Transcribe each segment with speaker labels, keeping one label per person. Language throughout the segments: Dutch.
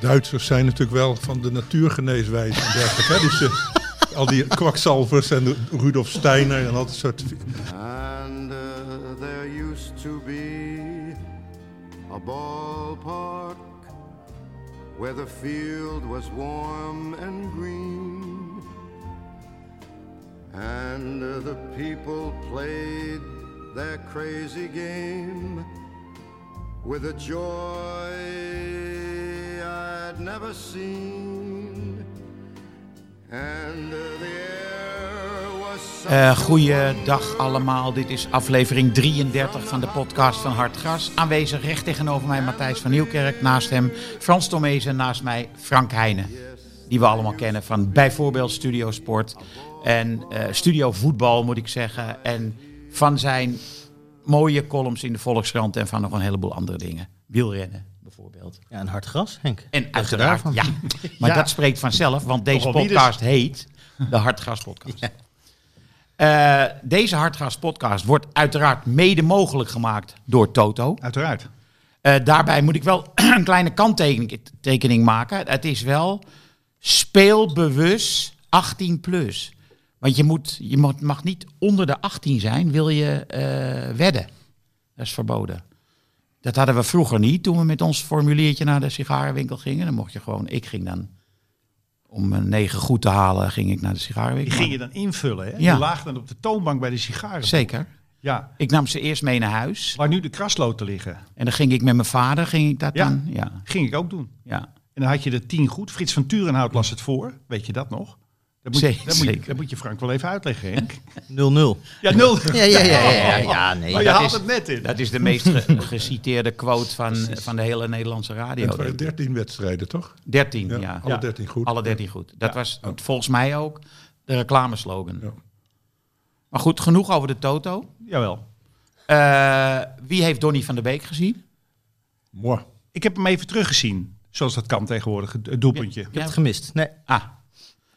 Speaker 1: Duitsers zijn natuurlijk wel van de natuurgeneeswijze en dergelijke. hè. Dus eh, al die kwakzalvers en de- Rudolf Steiner en al dat soort...
Speaker 2: And uh, there used to be a ballpark where the field was warm and green. And uh, the people played their crazy game with a joy I'd never seen. And uh, the air was such a
Speaker 3: Eh goeiedag allemaal, dit is aflevering 33 van de podcast van Hartgras. Aanwezig recht tegenover mij Matthijs van Nieuwkerk, naast hem Frans Tomezen, naast mij Frank Heijnen. Die we allemaal kennen van bijvoorbeeld Studio Sport en eh, Studio Voetbal moet ik zeggen. En van zijn mooie columns in de Volkskrant en van nog een heleboel andere dingen. Wielrennen bijvoorbeeld.
Speaker 4: Ja, een hard gras, Henk.
Speaker 3: En uiteraard,
Speaker 4: daarvan?
Speaker 3: ja. Maar
Speaker 4: Ja.
Speaker 3: dat spreekt vanzelf, want deze
Speaker 4: Nogal wie dus.
Speaker 3: podcast heet de Hartgras Podcast. Eh, deze Hartgras Podcast wordt uiteraard mede mogelijk gemaakt door Toto.
Speaker 4: Uiteraard.
Speaker 3: Eh, daarbij moet ik wel een kleine kanttekening tekening maken. Het is wel speelbewust 18 plus. Want je, moet, je mo- mag niet onder de 18 zijn, wil je eh, wedden. Dat is verboden. Dat hadden we vroeger niet toen we met ons formuliertje naar de sigarenwinkel gingen. Dan mocht je gewoon, ik ging dan om eh, negen goed te halen, ging ik naar de
Speaker 4: Die
Speaker 3: sigarenwinkel.
Speaker 4: ging je dan invullen, hè?
Speaker 3: Ja.
Speaker 4: Je laag dan op de toonbank bij de sigaren.
Speaker 3: Zeker.
Speaker 4: Ja,
Speaker 3: Ik nam ze eerst mee naar huis.
Speaker 4: waar nu de krasloten liggen.
Speaker 3: En dan ging ik met mijn vader, ging ik dat
Speaker 4: Ja.
Speaker 3: dan? Ja,
Speaker 4: Ging ik ook doen.
Speaker 3: ja.
Speaker 4: En dan had je de tien goed. Frits van Turenhout las het voor. Weet je dat nog? Dat moet,
Speaker 3: Zeker,
Speaker 4: je, dat moet, je,
Speaker 3: zeker.
Speaker 4: dat moet je Frank wel even uitleggen, Henk.
Speaker 5: 0-0.
Speaker 4: Ja, nul.
Speaker 5: Ja, ja, ja, ja, ja, ja, nee.
Speaker 4: Maar je
Speaker 3: dat
Speaker 4: haalt
Speaker 3: is-
Speaker 4: het net in.
Speaker 3: Dat is de meest ge- geciteerde quote van, van de hele Nederlandse radio.
Speaker 1: Het waren 13 wedstrijden, toch?
Speaker 3: 13, ja.
Speaker 1: Ja, alle 13 goed.
Speaker 3: Alle 13 goed. Dat was volgens mij ook de reclameslogan. Maar goed, genoeg over de Toto.
Speaker 4: Jawel.
Speaker 3: Eh, wie heeft Donny van der Beek gezien?
Speaker 1: Mooi.
Speaker 4: Ik heb hem even teruggezien. Zoals dat kan tegenwoordig, het het doelpuntje.
Speaker 5: Ik heb het gemist. Nee.
Speaker 3: Ah,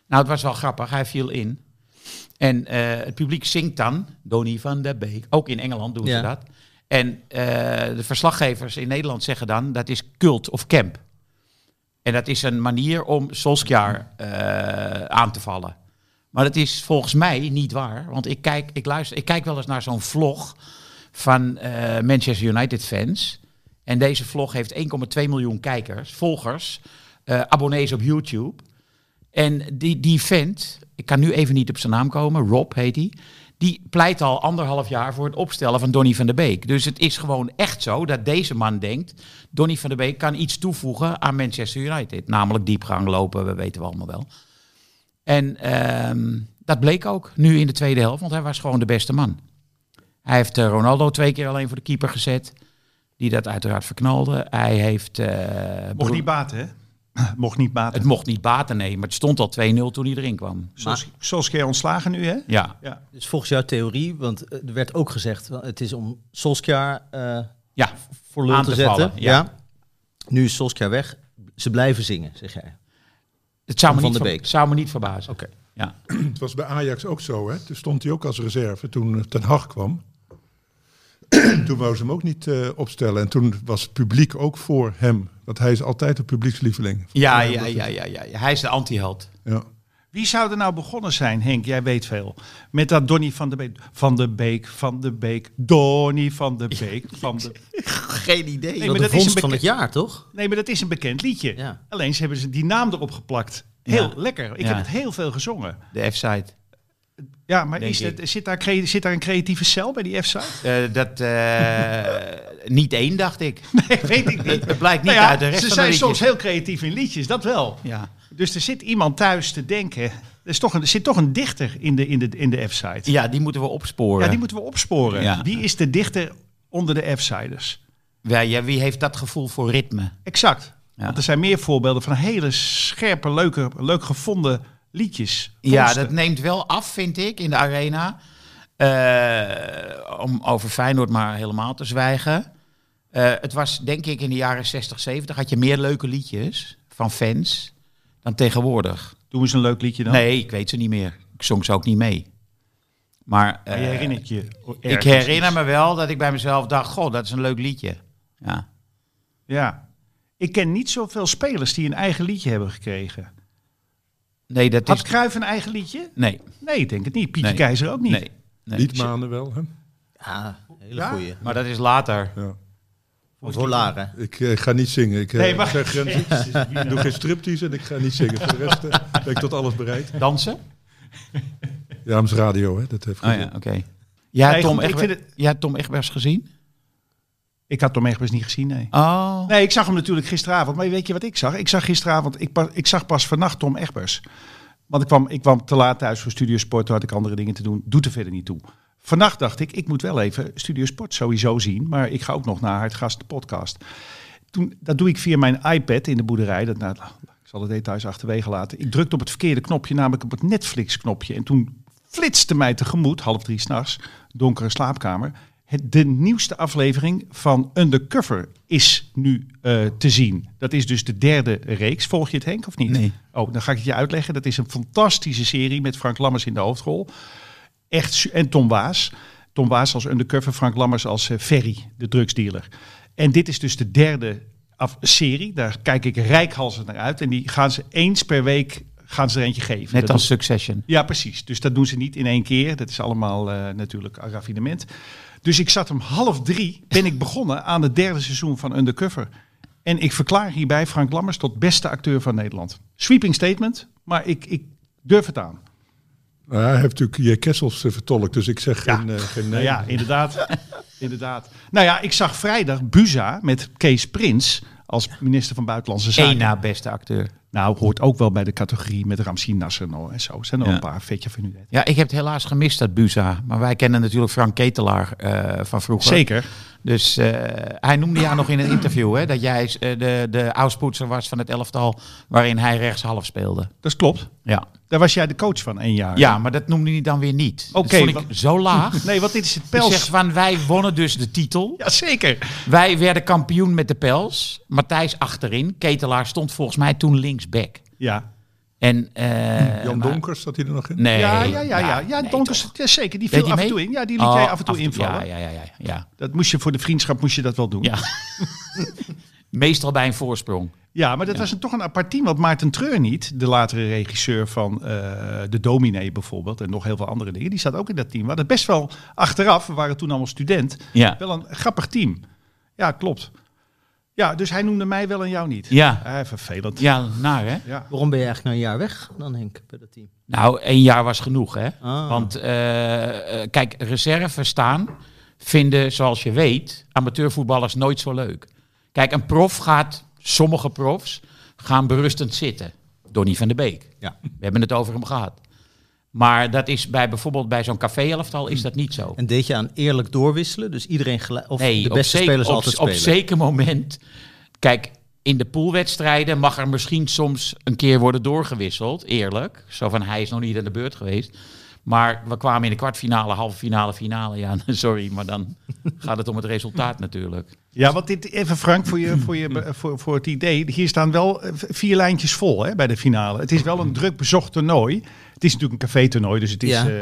Speaker 3: nou het was wel grappig. Hij viel in. En eh, het publiek zingt dan Donny van der Beek. Ook in Engeland doen
Speaker 5: Ja.
Speaker 3: ze dat. En eh, de verslaggevers in Nederland zeggen dan dat is cult of camp. En dat is een manier om Solskjaer eh, aan te vallen. Maar dat is volgens mij niet waar. Want ik kijk, ik luister, ik kijk wel eens naar zo'n vlog van eh, Manchester United fans. En deze vlog heeft 1,2 miljoen kijkers, volgers, eh, abonnees op YouTube. En die, die vent, ik kan nu even niet op zijn naam komen, Rob heet hij. Die pleit al anderhalf jaar voor het opstellen van Donny van der Beek. Dus het is gewoon echt zo dat deze man denkt... Donny van der Beek kan iets toevoegen aan Manchester United. Namelijk diepgang lopen, we weten we allemaal wel. En ehm, dat bleek ook nu in de tweede helft, want hij was gewoon de beste man. Hij heeft eh, Ronaldo twee keer alleen voor de keeper gezet. Die dat uiteraard verknalde. Hij heeft... eh,
Speaker 4: Mocht
Speaker 3: Bru-
Speaker 4: niet baten, hè? Mocht niet baten.
Speaker 3: het mocht niet baten, nee. Maar het stond al 2-0 toen hij erin kwam.
Speaker 4: Zoals, zoals keer ontslagen nu, hè?
Speaker 3: Ja,
Speaker 4: Ja.
Speaker 5: Dus volgens jouw theorie, want eh, er werd ook gezegd, wel, het is om Solskjaer eh,
Speaker 3: ja.
Speaker 5: voor lul
Speaker 3: Aan
Speaker 5: te,
Speaker 3: te
Speaker 5: zetten.
Speaker 3: vallen, ja.
Speaker 5: Nu is Solskjaer weg. Ze blijven zingen, zeg jij.
Speaker 3: Het zou me,
Speaker 5: Van
Speaker 3: niet,
Speaker 5: de
Speaker 3: ver-
Speaker 5: Beek.
Speaker 3: zou me niet verbazen. Oké. Ja.
Speaker 1: Het was bij Ajax ook zo, hè? Toen stond hij ook als reserve toen eh, Ten Hag kwam. toen wou ze hem ook niet eh, opstellen. En toen was het publiek ook voor hem. Want hij is altijd een publiekslieveling.
Speaker 3: Ja, ja, ja, ja, ja. Hij is de anti-held.
Speaker 1: Ja.
Speaker 4: Wie zou er nou begonnen zijn, Henk? Jij weet veel. Met dat Donny van de Beek. Van de Beek, van de Beek. Donny van de Beek. Van de...
Speaker 3: Geen idee.
Speaker 4: Nee,
Speaker 5: Wel
Speaker 4: maar
Speaker 5: de
Speaker 4: dat is een
Speaker 5: vondst van het
Speaker 4: bekend,
Speaker 5: jaar, toch?
Speaker 4: nee, maar dat is een bekend liedje.
Speaker 5: Ja.
Speaker 4: Alleen ze hebben ze die naam erop geplakt. Heel
Speaker 3: Ja.
Speaker 4: lekker. Ik
Speaker 3: Ja.
Speaker 4: heb het heel veel gezongen.
Speaker 3: De F-site.
Speaker 4: Ja, maar
Speaker 3: Denk
Speaker 4: is
Speaker 3: ik.
Speaker 4: het, zit, daar crea- zit daar een creatieve cel bij die F-site?
Speaker 3: Eh, dat, eh, niet één, dacht ik.
Speaker 4: Nee, weet ik niet.
Speaker 3: Het, het blijkt niet
Speaker 4: Nou ja,
Speaker 3: uit de rest
Speaker 4: ze
Speaker 3: van de
Speaker 4: zijn
Speaker 3: liedjes.
Speaker 4: soms heel creatief in liedjes, dat wel.
Speaker 3: Ja.
Speaker 4: Dus er zit iemand thuis te denken. Er, is toch een, er zit toch een dichter in de, in de, in de F-site.
Speaker 3: ja, die moeten we opsporen.
Speaker 4: Ja, die moeten we opsporen.
Speaker 3: Ja.
Speaker 4: Wie is de dichter onder de F-siders?
Speaker 3: Ja, ja, wie heeft dat gevoel voor ritme?
Speaker 4: Exact.
Speaker 3: Ja.
Speaker 4: Want er zijn meer voorbeelden van hele scherpe, leuke, leuk gevonden liedjes.
Speaker 3: Ja,
Speaker 4: Vondsten.
Speaker 3: dat neemt wel af, vind ik, in de arena. Eh, om over Feyenoord maar helemaal te zwijgen. Eh, het was, denk ik, in de jaren 60, 70 had je meer leuke liedjes van fans dan tegenwoordig.
Speaker 4: Doe eens een leuk liedje dan.
Speaker 3: Nee, ik weet ze niet meer. Ik zong ze ook niet mee. Maar,
Speaker 4: Maar
Speaker 3: eh,
Speaker 4: je herinnert je.
Speaker 3: ik
Speaker 4: ergens
Speaker 3: herinner
Speaker 4: iets.
Speaker 3: me wel dat ik bij mezelf dacht, god, dat is een leuk liedje. Ja.
Speaker 4: Ja. Ik ken niet zoveel spelers die een eigen liedje hebben gekregen.
Speaker 3: Nee, dat
Speaker 4: Had
Speaker 3: is...
Speaker 4: Cruijff een eigen liedje?
Speaker 3: Nee,
Speaker 4: Nee, ik denk het niet. Pietje
Speaker 3: Nee.
Speaker 4: Keizer ook niet.
Speaker 3: nee, nee. dus-
Speaker 1: Liedmanen wel, hè?
Speaker 5: Ja, hele
Speaker 4: Ja?
Speaker 5: goeie.
Speaker 3: Maar dat is later.
Speaker 1: Ja.
Speaker 5: Voor Volaren.
Speaker 1: Ik eh, ga niet zingen. Ik, eh,
Speaker 4: Nee, maar-
Speaker 1: ik zeg, eh, ik doe geen striptease en ik ga niet zingen. Voor de rest eh, ben ik tot alles bereid.
Speaker 3: Dansen?
Speaker 1: Ja, het is radio, hè? Dat heeft
Speaker 3: Oh ja,
Speaker 1: gezin.
Speaker 3: oké. Ja,
Speaker 4: Nee,
Speaker 3: Tom
Speaker 4: goed, ik
Speaker 3: Egber-
Speaker 4: vind het-
Speaker 3: Jij hebt Tom Egbers gezien?
Speaker 4: Ik had Tom Egbers niet gezien, nee.
Speaker 3: Oh.
Speaker 4: Nee, ik zag hem natuurlijk gisteravond. Maar weet je wat ik zag? Ik zag gisteravond, ik, pa- ik zag pas vannacht Tom Egbers. Want ik kwam, ik kwam te laat thuis voor Studiosport. Toen had ik andere dingen te doen. Doet er verder niet toe. Vannacht dacht ik, ik moet wel even Studiosport sowieso zien. Maar ik ga ook nog naar Hartgast de podcast. Toen, dat doe ik via mijn iPad in de boerderij. Dat, nou, ik zal de details achterwege laten. Ik drukte op het verkeerde knopje, namelijk op het Netflix-knopje. En toen flitste mij tegemoet, half drie s'nachts, donkere slaapkamer. Het, de nieuwste aflevering van Undercover is nu eh, te zien. Dat is dus de derde reeks. Volg je het Henk of niet?
Speaker 3: Nee.
Speaker 4: Oh, dan ga ik het je uitleggen. Dat is een fantastische serie met Frank Lammers in de hoofdrol. Echt, su- en Tom Waas. Tom Waas als undercover, Frank Lammers als eh, Ferry, de drugsdealer. En dit is dus de derde af serie. Daar kijk ik rijkhalsend naar uit. En die gaan ze eens per week gaan ze er eentje geven.
Speaker 3: Net
Speaker 4: Dat
Speaker 3: als Succession.
Speaker 4: ja, precies. Dus dat doen ze niet in één keer. Dat is allemaal eh, natuurlijk een raffinement. Dus ik zat om half drie, ben ik begonnen aan het derde seizoen van Undercover. En ik verklaar hierbij Frank Lammers tot beste acteur van Nederland. Sweeping statement, maar ik, ik durf het aan.
Speaker 1: Nou, hij heeft natuurlijk je Kessels eh, vertolkt, dus ik zeg
Speaker 4: Ja.
Speaker 1: geen, eh, geen nee.
Speaker 4: Nou ja, inderdaad. inderdaad. Nou ja, ik zag vrijdag Buza met Kees Prins als minister van Buitenlandse Zaken.
Speaker 3: Eén na beste acteur.
Speaker 4: Nou, hoort ook wel bij de categorie met Ramsin Nasser en zo. Zijn er
Speaker 3: Ja.
Speaker 4: een paar vetje van u.
Speaker 3: Ja, ik heb het helaas gemist, dat Buza. Maar wij kennen natuurlijk Frank Ketelaar eh, van vroeger.
Speaker 4: Zeker.
Speaker 3: Dus eh, hij noemde jou nog in een interview hè, dat jij eh, de, de oudspoetser was van het elftal waarin hij rechtshalf speelde.
Speaker 4: Dat klopt.
Speaker 3: Ja,
Speaker 4: Daar was jij de coach van één jaar.
Speaker 3: ja maar dat noemde hij dan weer niet. Dat
Speaker 4: Oké,
Speaker 3: vond ik
Speaker 4: wat-
Speaker 3: zo laag.
Speaker 4: Nee, want dit is het
Speaker 3: Ik zeg
Speaker 4: pels.
Speaker 3: van, wij wonnen dus de titel.
Speaker 4: Jazeker.
Speaker 3: Wij werden kampioen met de pels. Matthijs achterin. Ketelaar stond volgens mij toen linksback.
Speaker 4: Ja.
Speaker 3: En, eh,
Speaker 1: Jan
Speaker 3: maar-
Speaker 1: Donkers, zat hij er nog in?
Speaker 3: Nee.
Speaker 4: Hm, ja, ja, ja, ja. Ja,
Speaker 3: nee,
Speaker 4: Donkers,
Speaker 3: toch.
Speaker 4: ja, zeker. Die
Speaker 3: Deed
Speaker 4: viel
Speaker 3: hij
Speaker 4: af en
Speaker 3: mee?
Speaker 4: toe in. Ja, die liet jij
Speaker 3: Oh,
Speaker 4: af en toe invallen.
Speaker 3: Ja, ja, ja, ja, ja.
Speaker 4: Dat moest je voor de vriendschap moest je dat wel doen. Ja,
Speaker 3: ja. Meestal bij een voorsprong.
Speaker 4: maar dat was een, toch een apart team. Want Maarten Treur niet, de latere regisseur van eh, De Dominee bijvoorbeeld... en nog heel veel andere dingen, die zat ook in dat team. We hadden best wel achteraf, we waren toen allemaal student...
Speaker 3: Ja.
Speaker 4: wel een grappig team. Ja, klopt. Ja, dus hij noemde mij wel en jou niet.
Speaker 3: Ja.
Speaker 4: Eh, vervelend.
Speaker 3: Ja, naar hè?
Speaker 4: Ja.
Speaker 5: Waarom ben je eigenlijk nou een jaar weg dan, Henk, bij dat team?
Speaker 3: Nou, één jaar was genoeg hè.
Speaker 5: Ah.
Speaker 3: Want eh, eh, kijk, reserve staan vinden, zoals je weet, amateurvoetballers nooit zo leuk. Kijk, een prof gaat, sommige profs gaan berustend zitten. Donny van de Beek.
Speaker 5: Ja.
Speaker 3: We hebben het over hem gehad. Maar dat is bij bijvoorbeeld bij zo'n café-elftal
Speaker 4: Hm.
Speaker 3: is dat niet zo.
Speaker 5: En deed je aan eerlijk doorwisselen? Dus iedereen gelijk, of
Speaker 3: nee,
Speaker 5: de beste
Speaker 3: op zeker,
Speaker 5: spelers
Speaker 3: op,
Speaker 5: altijd
Speaker 3: op
Speaker 5: spelen?
Speaker 3: zeker moment. Kijk, in de poolwedstrijden mag er misschien soms een keer worden doorgewisseld. Eerlijk. Zo van hij is nog niet aan de beurt geweest. Maar we kwamen in de kwartfinale, halve finale, finale. Ja, sorry, maar dan gaat het om het resultaat natuurlijk.
Speaker 4: Ja, want dit, even Frank, voor, je, voor, je,
Speaker 5: Mm.
Speaker 4: voor, voor het idee. Hier staan wel eh, vier lijntjes vol hè, bij de finale. Het is wel een druk bezocht toernooi. Het is natuurlijk een café-toernooi, dus het is
Speaker 5: Ja.
Speaker 4: eh,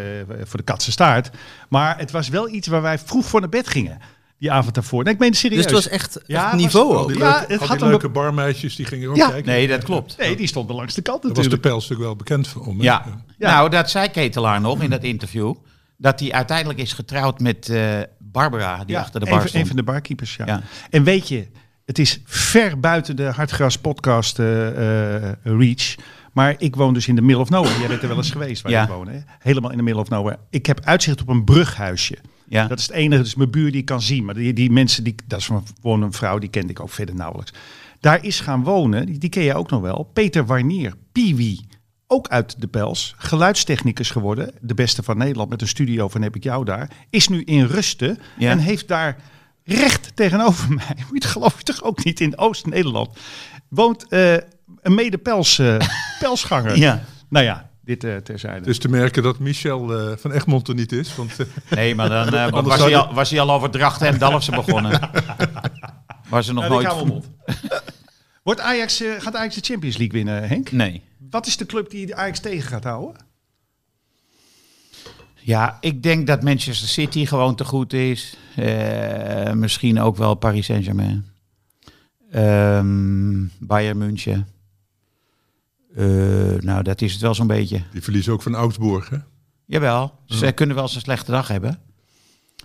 Speaker 4: voor de katse staart. Maar het was wel iets waar wij vroeg voor naar bed gingen. die avond daarvoor. Nee, ik meen het serieus.
Speaker 5: Dus het was echt,
Speaker 4: Ja,
Speaker 5: echt
Speaker 4: was
Speaker 5: niveau
Speaker 4: het wel
Speaker 5: ook.
Speaker 1: Die
Speaker 4: Ja,
Speaker 1: leuke-
Speaker 4: het
Speaker 1: al
Speaker 4: had
Speaker 1: die
Speaker 4: een
Speaker 1: leuke barmeisjes, die gingen ook
Speaker 4: Ja,
Speaker 1: kijken.
Speaker 3: Nee, dat klopt.
Speaker 4: Nee, die stond wel langs de kant
Speaker 1: Daar was de
Speaker 4: natuurlijk.
Speaker 1: pijlstuk wel bekend voor. om, hè?
Speaker 3: Ja.
Speaker 4: Ja.
Speaker 3: nou dat zei Ketelaar nog in dat interview. Dat hij uiteindelijk is getrouwd met eh, Barbara, die
Speaker 4: ja,
Speaker 3: achter de
Speaker 4: een
Speaker 3: bar
Speaker 4: van-
Speaker 3: stond.
Speaker 4: een van de barkeepers, ja.
Speaker 3: Ja.
Speaker 4: En weet je, het is ver buiten de Hartgras podcast eh, eh, reach. Maar ik woon dus in de middle of nowhere. Jij bent er wel eens geweest waar
Speaker 3: Ja.
Speaker 4: ik woon, hè? Helemaal in de middle of nowhere. Ik heb uitzicht op een brughuisje.
Speaker 3: ja.
Speaker 4: Dat is het enige, dus mijn buur die ik kan zien. Maar die, die mensen, die, dat is van- gewoon een vrouw, die kende ik ook verder nauwelijks. Daar is gaan wonen, die, die ken je ook nog wel, Peter Warnier, Piwi. Ook uit de Pels, geluidstechnicus geworden, de beste van Nederland met een studio van heb ik jou daar. Is nu in rusten
Speaker 3: Ja.
Speaker 4: en heeft daar recht tegenover mij, moet je het geloof je toch ook niet, in Oost-Nederland, woont eh, een mede-Pels eh, Pelsganger.
Speaker 3: Ja.
Speaker 4: Nou ja, dit eh, terzijde.
Speaker 1: Het is te merken dat Michel eh, van Egmond er niet is. Want eh,
Speaker 3: Nee, maar dan eh,
Speaker 1: Anders
Speaker 3: was,
Speaker 1: zou
Speaker 3: hij
Speaker 1: je-
Speaker 3: al, was hij al over Drachten en Dalfsen begonnen. Waar ze nog
Speaker 4: Nou, die gaan we
Speaker 3: nooit...
Speaker 4: op. Wordt Ajax, eh, gaat Ajax de Champions League winnen, Henk?
Speaker 3: Nee.
Speaker 4: Wat is de club die de Ajax tegen gaat houden?
Speaker 3: Ja, ik denk dat Manchester City gewoon te goed is. Eh, misschien ook wel Paris Saint-Germain. Ehm, Bayern München. Eh, nou, dat is het wel zo'n beetje.
Speaker 1: die verliezen ook van Augsburg. Hè?
Speaker 3: Jawel, ze
Speaker 1: Mhm.
Speaker 3: kunnen wel eens een slechte dag hebben.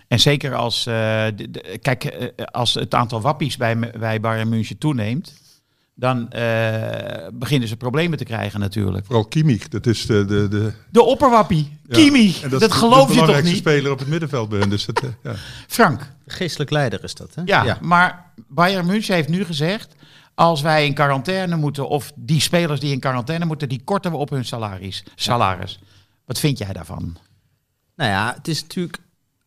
Speaker 3: En zeker als, eh, de- de- kijk, eh, als het aantal wappies bij, me- bij Bayern München toeneemt, dan eh, beginnen ze problemen te krijgen natuurlijk.
Speaker 1: Vooral Kimmich, dat is de... de, de
Speaker 3: De opperwappie,
Speaker 1: ja.
Speaker 3: Kimi,
Speaker 1: En
Speaker 3: dat,
Speaker 1: is de-
Speaker 3: geloof
Speaker 1: de
Speaker 3: je toch
Speaker 1: belangrijkste
Speaker 3: niet?
Speaker 1: speler op het middenveld bij hen. Dus dat, eh, ja.
Speaker 3: Frank,
Speaker 5: Geestelijk leider is dat, hè?
Speaker 3: ja, maar Bayern München heeft nu gezegd, als wij in quarantaine moeten, of die spelers die in quarantaine moeten, die korten we op hun salaris. salaris. Wat vind jij daarvan?
Speaker 5: Nou ja, het is natuurlijk...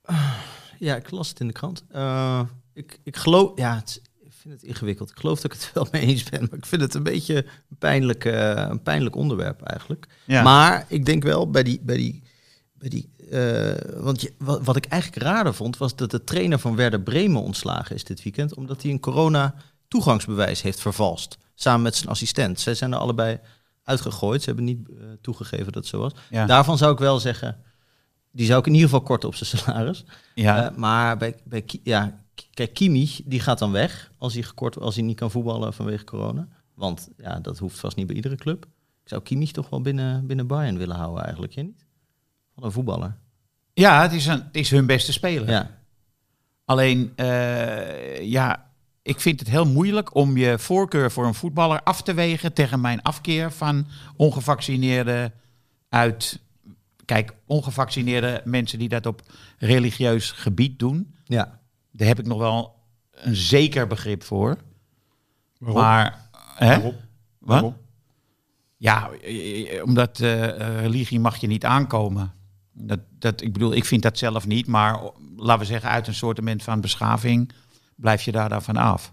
Speaker 5: ah, Ja, ik las het in de krant. Eh, ik, ik geloof... Ja, het is- ik vind het ingewikkeld. Ik geloof dat ik het wel mee eens ben. Maar ik vind het een beetje een pijnlijk, eh, een pijnlijk onderwerp eigenlijk.
Speaker 3: Ja.
Speaker 5: Maar ik denk wel bij die... Bij die bij die, eh, want je- wat, wat ik eigenlijk raarder vond, was dat de trainer van Werder Bremen ontslagen is dit weekend. Omdat hij een corona-toegangsbewijs heeft vervalst. Samen met zijn assistent. Zij zijn er allebei uitgegooid. Ze hebben niet eh, toegegeven dat het zo was.
Speaker 3: Ja.
Speaker 5: Daarvan zou ik wel zeggen, die zou ik in ieder geval korten op zijn salaris.
Speaker 3: Ja,
Speaker 5: Eh, maar bij, bij Ki- ja, k- kijk, Kimmich, die gaat dan weg als hij, gekort, als hij niet kan voetballen vanwege corona. Want ja, dat hoeft vast niet bij iedere club. Ik zou Kimmich toch wel binnen, binnen Bayern willen houden eigenlijk, je niet? Van een voetballer.
Speaker 3: ja het, is een, het is hun beste speler.
Speaker 5: Ja,
Speaker 3: Alleen, eh, ja, ik vind het heel moeilijk om je voorkeur voor een voetballer af te wegen tegen mijn afkeer van ongevaccineerden uit. Kijk, ongevaccineerde mensen die dat op religieus gebied doen,
Speaker 5: ja.
Speaker 3: daar heb ik nog wel een zeker begrip voor.
Speaker 4: Waarom?
Speaker 3: Maar, hè?
Speaker 4: Waarom?
Speaker 3: Wat? Ja, eh, eh, omdat eh, religie mag je niet aankomen. Dat, dat, ik bedoel, ik vind dat zelf niet, maar o- laten we zeggen, uit een soortement van beschaving blijf je daar dan van af.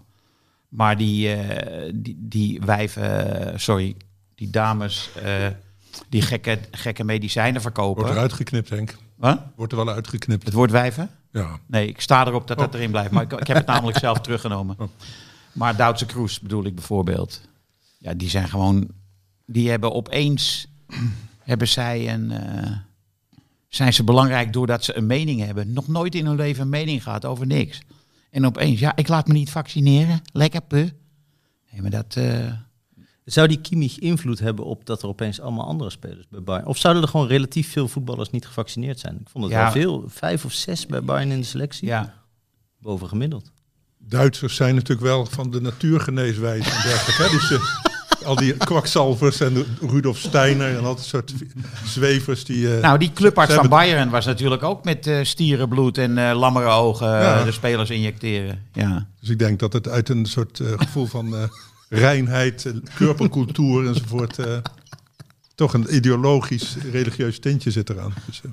Speaker 3: Maar die, eh, die, die wijven, eh, sorry, die dames eh, die gekke, gekke medicijnen
Speaker 1: Wordt
Speaker 3: verkopen.
Speaker 1: eruit geknipt, Henk.
Speaker 3: Wat?
Speaker 1: Wordt er wel uitgeknipt.
Speaker 3: Het woord wijven?
Speaker 1: Ja.
Speaker 3: Nee, ik sta erop dat dat
Speaker 1: Oh.
Speaker 3: erin blijft. Maar ik, ik heb het namelijk zelf teruggenomen. Maar Duitse Kroes bedoel ik bijvoorbeeld. Ja, die zijn gewoon... Die hebben opeens... hebben zij een... eh, zijn ze belangrijk doordat ze een mening hebben. Nog nooit in hun leven een mening gehad over niks. En opeens, ja, ik laat me niet vaccineren. Lekker, puh. Nee, maar dat... eh,
Speaker 5: Zou die Kimmich invloed hebben op dat er opeens allemaal andere spelers bij Bayern... Of zouden er gewoon relatief veel voetballers niet gevaccineerd zijn? Ik vond het
Speaker 3: Ja.
Speaker 5: wel veel. Vijf of zes bij Bayern in de selectie.
Speaker 3: ja.
Speaker 5: Boven gemiddeld.
Speaker 1: Duitsers zijn natuurlijk wel van de natuurgeneeswijze. en dergelijke, hè. Dus, eh, al die kwakzalvers en Rudolf Steiner en al dat soort zwevers die... eh,
Speaker 3: Nou, die clubarts
Speaker 1: Ze
Speaker 3: van
Speaker 1: hebben-
Speaker 3: Bayern was natuurlijk ook met eh, stierenbloed en eh lammere ogen eh,
Speaker 1: Ja.
Speaker 3: de spelers injecteren. Ja.
Speaker 1: Dus ik denk dat het uit een soort eh, gevoel van eh, reinheid, eh, körpercultuur enzovoort... eh, toch een ideologisch, religieus tintje zit eraan. Dus, eh,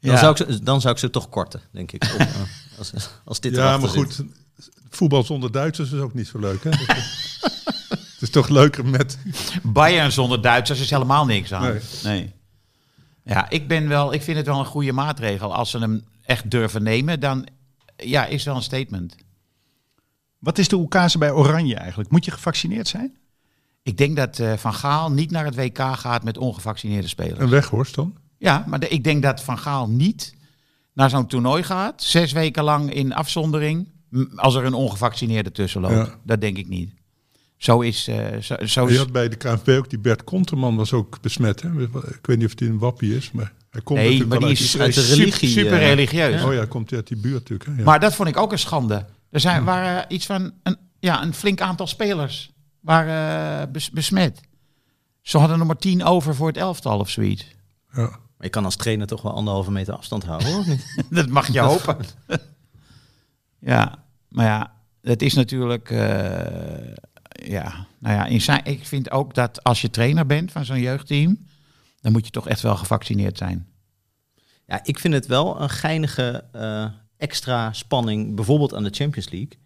Speaker 5: Dan,
Speaker 3: Ja.
Speaker 5: zou ik ze, dan zou ik ze toch korten, denk ik. Om, eh, als, als dit
Speaker 1: ja,
Speaker 5: erachter
Speaker 1: maar
Speaker 5: zit.
Speaker 1: goed, voetbal zonder Duitsers is ook niet zo leuk, hè? het is toch leuker met...
Speaker 3: Bayern zonder Duitsers is dus helemaal niks aan. Nee.
Speaker 1: Nee.
Speaker 3: Ja, ik, ben wel, ik vind het wel een goede maatregel. Als ze hem echt durven nemen, dan ja, is wel een statement.
Speaker 4: Wat is de oekase bij Oranje eigenlijk? Moet je gevaccineerd zijn?
Speaker 3: Ik denk dat eh, Van Gaal niet naar het WK gaat met ongevaccineerde spelers.
Speaker 1: Een weghorst dan?
Speaker 3: Ja, maar de- ik denk dat Van Gaal niet naar zo'n toernooi gaat, zes weken lang in afzondering, m, als er een ongevaccineerde tussen loopt.
Speaker 1: Ja.
Speaker 3: Dat denk ik niet. Zo is... eh, zo, zo
Speaker 1: Je
Speaker 3: is
Speaker 1: had bij de KNP ook die Bert Konterman was ook besmet. Hè? Ik weet niet of hij een wappie is, maar hij komt
Speaker 3: nee,
Speaker 1: natuurlijk
Speaker 3: maar
Speaker 1: wel
Speaker 3: die
Speaker 1: uit
Speaker 3: is
Speaker 5: uit de religie,
Speaker 3: super,
Speaker 5: eh,
Speaker 3: religieus.
Speaker 1: Oh ja, komt hij uit die buurt natuurlijk. Hè? Ja.
Speaker 3: Maar dat vond ik ook een schande. Er zijn, waren iets van een, ja, een flink aantal spelers waren eh, bes- besmet. Ze hadden nog maar tien over voor het elftal of zoiets.
Speaker 1: Ja.
Speaker 5: Maar je kan als trainer toch wel anderhalve meter afstand houden, hoor. of niet?
Speaker 3: dat mag je hopen. ja, maar ja, het is natuurlijk... eh, ja, nou ja, in zijn, ik vind ook dat als je trainer bent van zo'n jeugdteam... dan moet je toch echt wel gevaccineerd zijn.
Speaker 5: Ja, ik vind het wel een geinige eh, extra spanning, bijvoorbeeld aan de Champions League.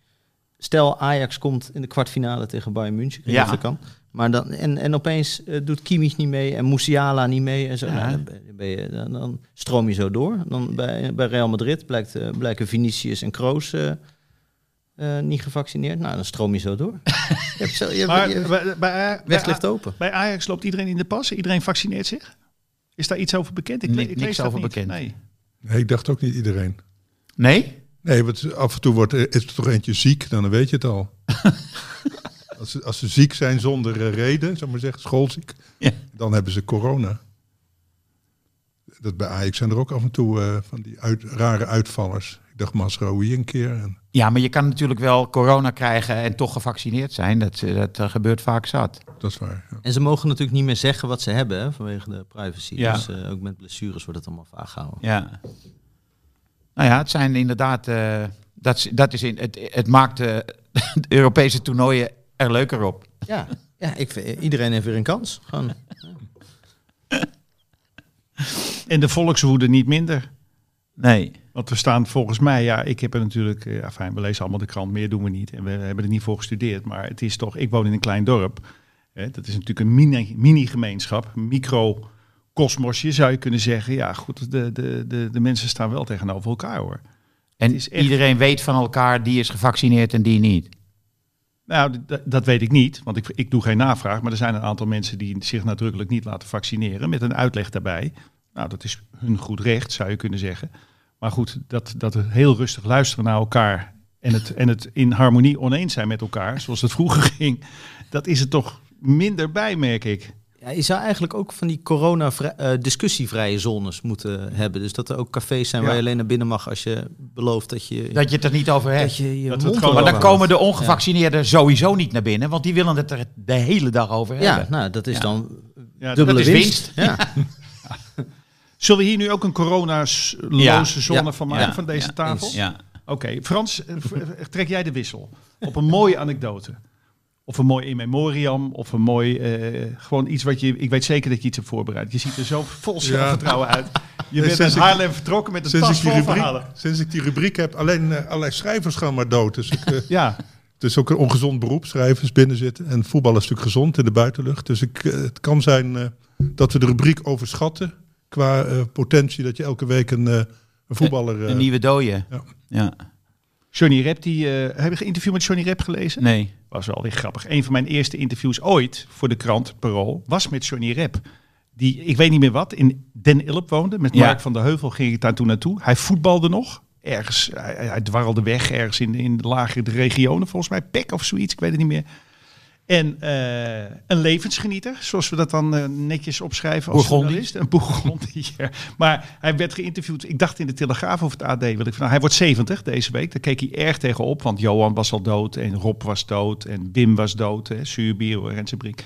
Speaker 5: Stel, Ajax komt in de kwartfinale tegen Bayern München.
Speaker 3: Ja.
Speaker 5: Ja. Dat kan. Maar dan, en, en opeens eh, doet Kimmich niet mee en Musiala niet mee. En zo.
Speaker 3: Ja.
Speaker 5: Nou, dan, ben- ben je, dan, dan stroom je zo door. Dan bij, bij Real Madrid blijkt, eh, blijken Vinicius en Kroos eh, eh, niet gevaccineerd. Nou, dan stroom je zo door. je hebt zo, je,
Speaker 4: Maar
Speaker 5: je-
Speaker 4: bij, eh, bij,
Speaker 5: weg
Speaker 4: bij,
Speaker 5: ligt open.
Speaker 4: bij Ajax loopt iedereen in de pas. Iedereen vaccineert zich. Is daar iets over bekend? Ik, le-
Speaker 3: Ni-
Speaker 4: ik
Speaker 3: niks
Speaker 4: lees dat
Speaker 3: over
Speaker 4: niet.
Speaker 3: bekend.
Speaker 4: Nee.
Speaker 1: Nee, ik dacht ook niet iedereen.
Speaker 3: Nee?
Speaker 1: Nee, want af en toe wordt, er- is er toch eentje ziek, dan weet je het al. als, ze, als ze ziek zijn zonder eh, reden, zou ik maar zeggen, schoolziek,
Speaker 3: Ja.
Speaker 1: dan hebben ze corona. Dat bij Ajax zijn er ook af en toe eh, van die uit, rare uitvallers. Ik dacht Masraoui een keer. En,
Speaker 3: Ja, maar je kan natuurlijk wel corona krijgen en toch gevaccineerd zijn. Dat, dat eh, gebeurt vaak zat.
Speaker 1: dat is waar. ja.
Speaker 5: En ze mogen natuurlijk niet meer zeggen wat ze hebben hè, vanwege de privacy.
Speaker 3: Ja.
Speaker 5: Dus eh, ook met blessures wordt het allemaal vaag gehouden.
Speaker 3: Ja. Nou ja, het zijn inderdaad. eh, dat, is- dat is in, het, het maakt eh, de Europese toernooien er leuker op.
Speaker 5: Ja, ja ik, vind- eh, iedereen heeft weer een kans. Gewoon.
Speaker 4: En de volkswoede niet minder.
Speaker 3: Nee.
Speaker 4: Want we staan volgens mij, ja, ik heb er natuurlijk, eh, ja, fijn, we lezen allemaal de krant, meer doen we niet. En we hebben er niet voor gestudeerd, maar het is toch, ik woon in een klein dorp. Hè, dat is natuurlijk een mini- mini-gemeenschap, microcosmosje zou je kunnen zeggen. Ja, goed, de, de, de, de mensen staan wel tegenover elkaar hoor.
Speaker 3: En
Speaker 4: is echt-
Speaker 3: iedereen weet van elkaar die is gevaccineerd en die niet.
Speaker 4: Nou, d- d- dat weet ik niet, want ik, ik doe geen navraag. Maar er zijn een aantal mensen die zich nadrukkelijk niet laten vaccineren met een uitleg daarbij. Nou, dat is hun goed recht, zou je kunnen zeggen. Maar goed, dat, dat we heel rustig luisteren naar elkaar en het, en het in harmonie oneens zijn met elkaar, zoals het vroeger ging, dat is er toch minder bij, merk ik.
Speaker 5: Ja, je zou eigenlijk ook van die corona-discussievrije zones moeten hebben. Dus dat er ook cafés zijn
Speaker 4: Ja.
Speaker 5: waar je alleen naar binnen mag als je belooft dat je
Speaker 3: Dat je het er niet over hebt.
Speaker 5: dat je, je
Speaker 4: dat we het
Speaker 5: mond
Speaker 4: gewoon-
Speaker 3: maar dan
Speaker 5: erover
Speaker 3: komen de
Speaker 5: houdt.
Speaker 3: ongevaccineerden sowieso niet naar binnen, want die willen het er de hele dag over
Speaker 5: Ja,
Speaker 3: hebben.
Speaker 5: ja nou, dat is
Speaker 3: Ja.
Speaker 5: dan
Speaker 4: Ja,
Speaker 5: dubbele
Speaker 3: is
Speaker 5: winst.
Speaker 3: winst.
Speaker 5: Ja.
Speaker 4: Zullen we hier nu ook een coronaloze
Speaker 3: Ja,
Speaker 4: zone
Speaker 3: ja,
Speaker 4: van maken,
Speaker 3: ja,
Speaker 4: van deze
Speaker 3: ja,
Speaker 4: tafel?
Speaker 3: Ja.
Speaker 4: Oké, Frans, eh, v- eh, trek jij de wissel op een mooie anekdote. Of een mooi in memoriam, of een mooi, eh, gewoon iets wat je, ik weet zeker dat je iets hebt voorbereid. Je ziet er zo vol zelfvertrouwen uit. Je bent uit
Speaker 1: sinds ik-
Speaker 4: Haarlem vertrokken met een
Speaker 1: Sinds,
Speaker 4: tas
Speaker 1: ik die
Speaker 4: vol
Speaker 1: rubriek,
Speaker 4: verhalen.
Speaker 1: sinds ik die rubriek heb, alleen eh, allerlei schrijvers gaan maar dood. Dus ik, eh,
Speaker 4: Ja,
Speaker 1: Het is ook een ongezond beroep, schrijvers binnenzitten. En voetbal is natuurlijk gezond in de buitenlucht. Dus ik, eh, het kan zijn eh, dat we de rubriek overschatten. Qua eh, potentie dat je elke week een, eh, een voetballer... eh,
Speaker 3: Een nieuwe dooie.
Speaker 1: Ja.
Speaker 3: ja.
Speaker 4: Johnny Rep, die, eh, heb je een interview met Johnny Rep gelezen?
Speaker 3: Nee.
Speaker 4: was wel weer grappig. Een van mijn eerste interviews ooit voor de krant Parool was met Johnny Rep. Die, ik weet niet meer wat, in Den Ilp woonde. Met
Speaker 3: Ja.
Speaker 4: Mark van der Heuvel ging ik daar toen naartoe. Hij voetbalde nog. Ergens, hij, hij dwarrelde weg ergens in, in de lagere regionen. Volgens mij Pek of zoiets, ik weet het niet meer. En eh, een levensgenieter, zoals we dat dan eh, netjes opschrijven als
Speaker 3: Bourgondi.
Speaker 4: journalist. Een Bourgondier. Maar hij werd geïnterviewd, ik dacht in de Telegraaf of het AD. Wil ik, nou, hij wordt 70 deze week, daar keek hij erg tegen op. Want Johan was al dood en Rob was dood en Wim was dood. hè, Suurbier, Renze Brink.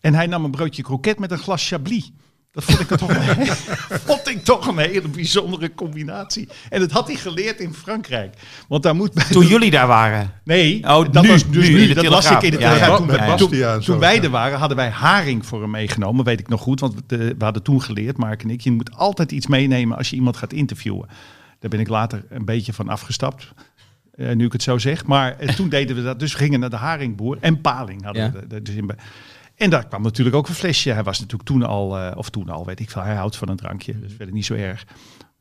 Speaker 4: En hij nam een broodje kroket met een glas chablis. Dat vond ik, toch een, vond ik toch een hele bijzondere combinatie. En dat had hij geleerd in Frankrijk. Want daar moet bij
Speaker 3: Toen jullie daar waren.
Speaker 4: Nee,
Speaker 3: Oh,
Speaker 4: dat
Speaker 3: nu,
Speaker 4: was dus
Speaker 3: nu,
Speaker 4: nu.
Speaker 3: in de
Speaker 4: dat las ik
Speaker 3: Telegraaf.
Speaker 4: in de
Speaker 3: Ja,
Speaker 4: Telegraaf.
Speaker 3: ja,
Speaker 4: toen,
Speaker 3: met
Speaker 4: wij-
Speaker 1: Bastia en
Speaker 4: toen,
Speaker 1: zo,
Speaker 4: toen wij
Speaker 1: ja.
Speaker 4: er waren, hadden wij haring voor hem meegenomen. Weet ik nog goed, want we, eh, we hadden toen geleerd, Mark en ik. Je moet altijd iets meenemen als je iemand gaat interviewen. Daar ben ik later een beetje van afgestapt. eh, nu ik het zo zeg. Maar eh, toen deden we dat. Dus we gingen naar de haringboer. En paling hadden
Speaker 5: Ja.
Speaker 4: we. er- er dus in bij. En daar kwam natuurlijk ook een flesje. Hij was natuurlijk toen al, eh, of toen al, weet ik veel. Hij houdt van een drankje.
Speaker 3: Mhm.
Speaker 4: Dus verder niet zo erg. Maar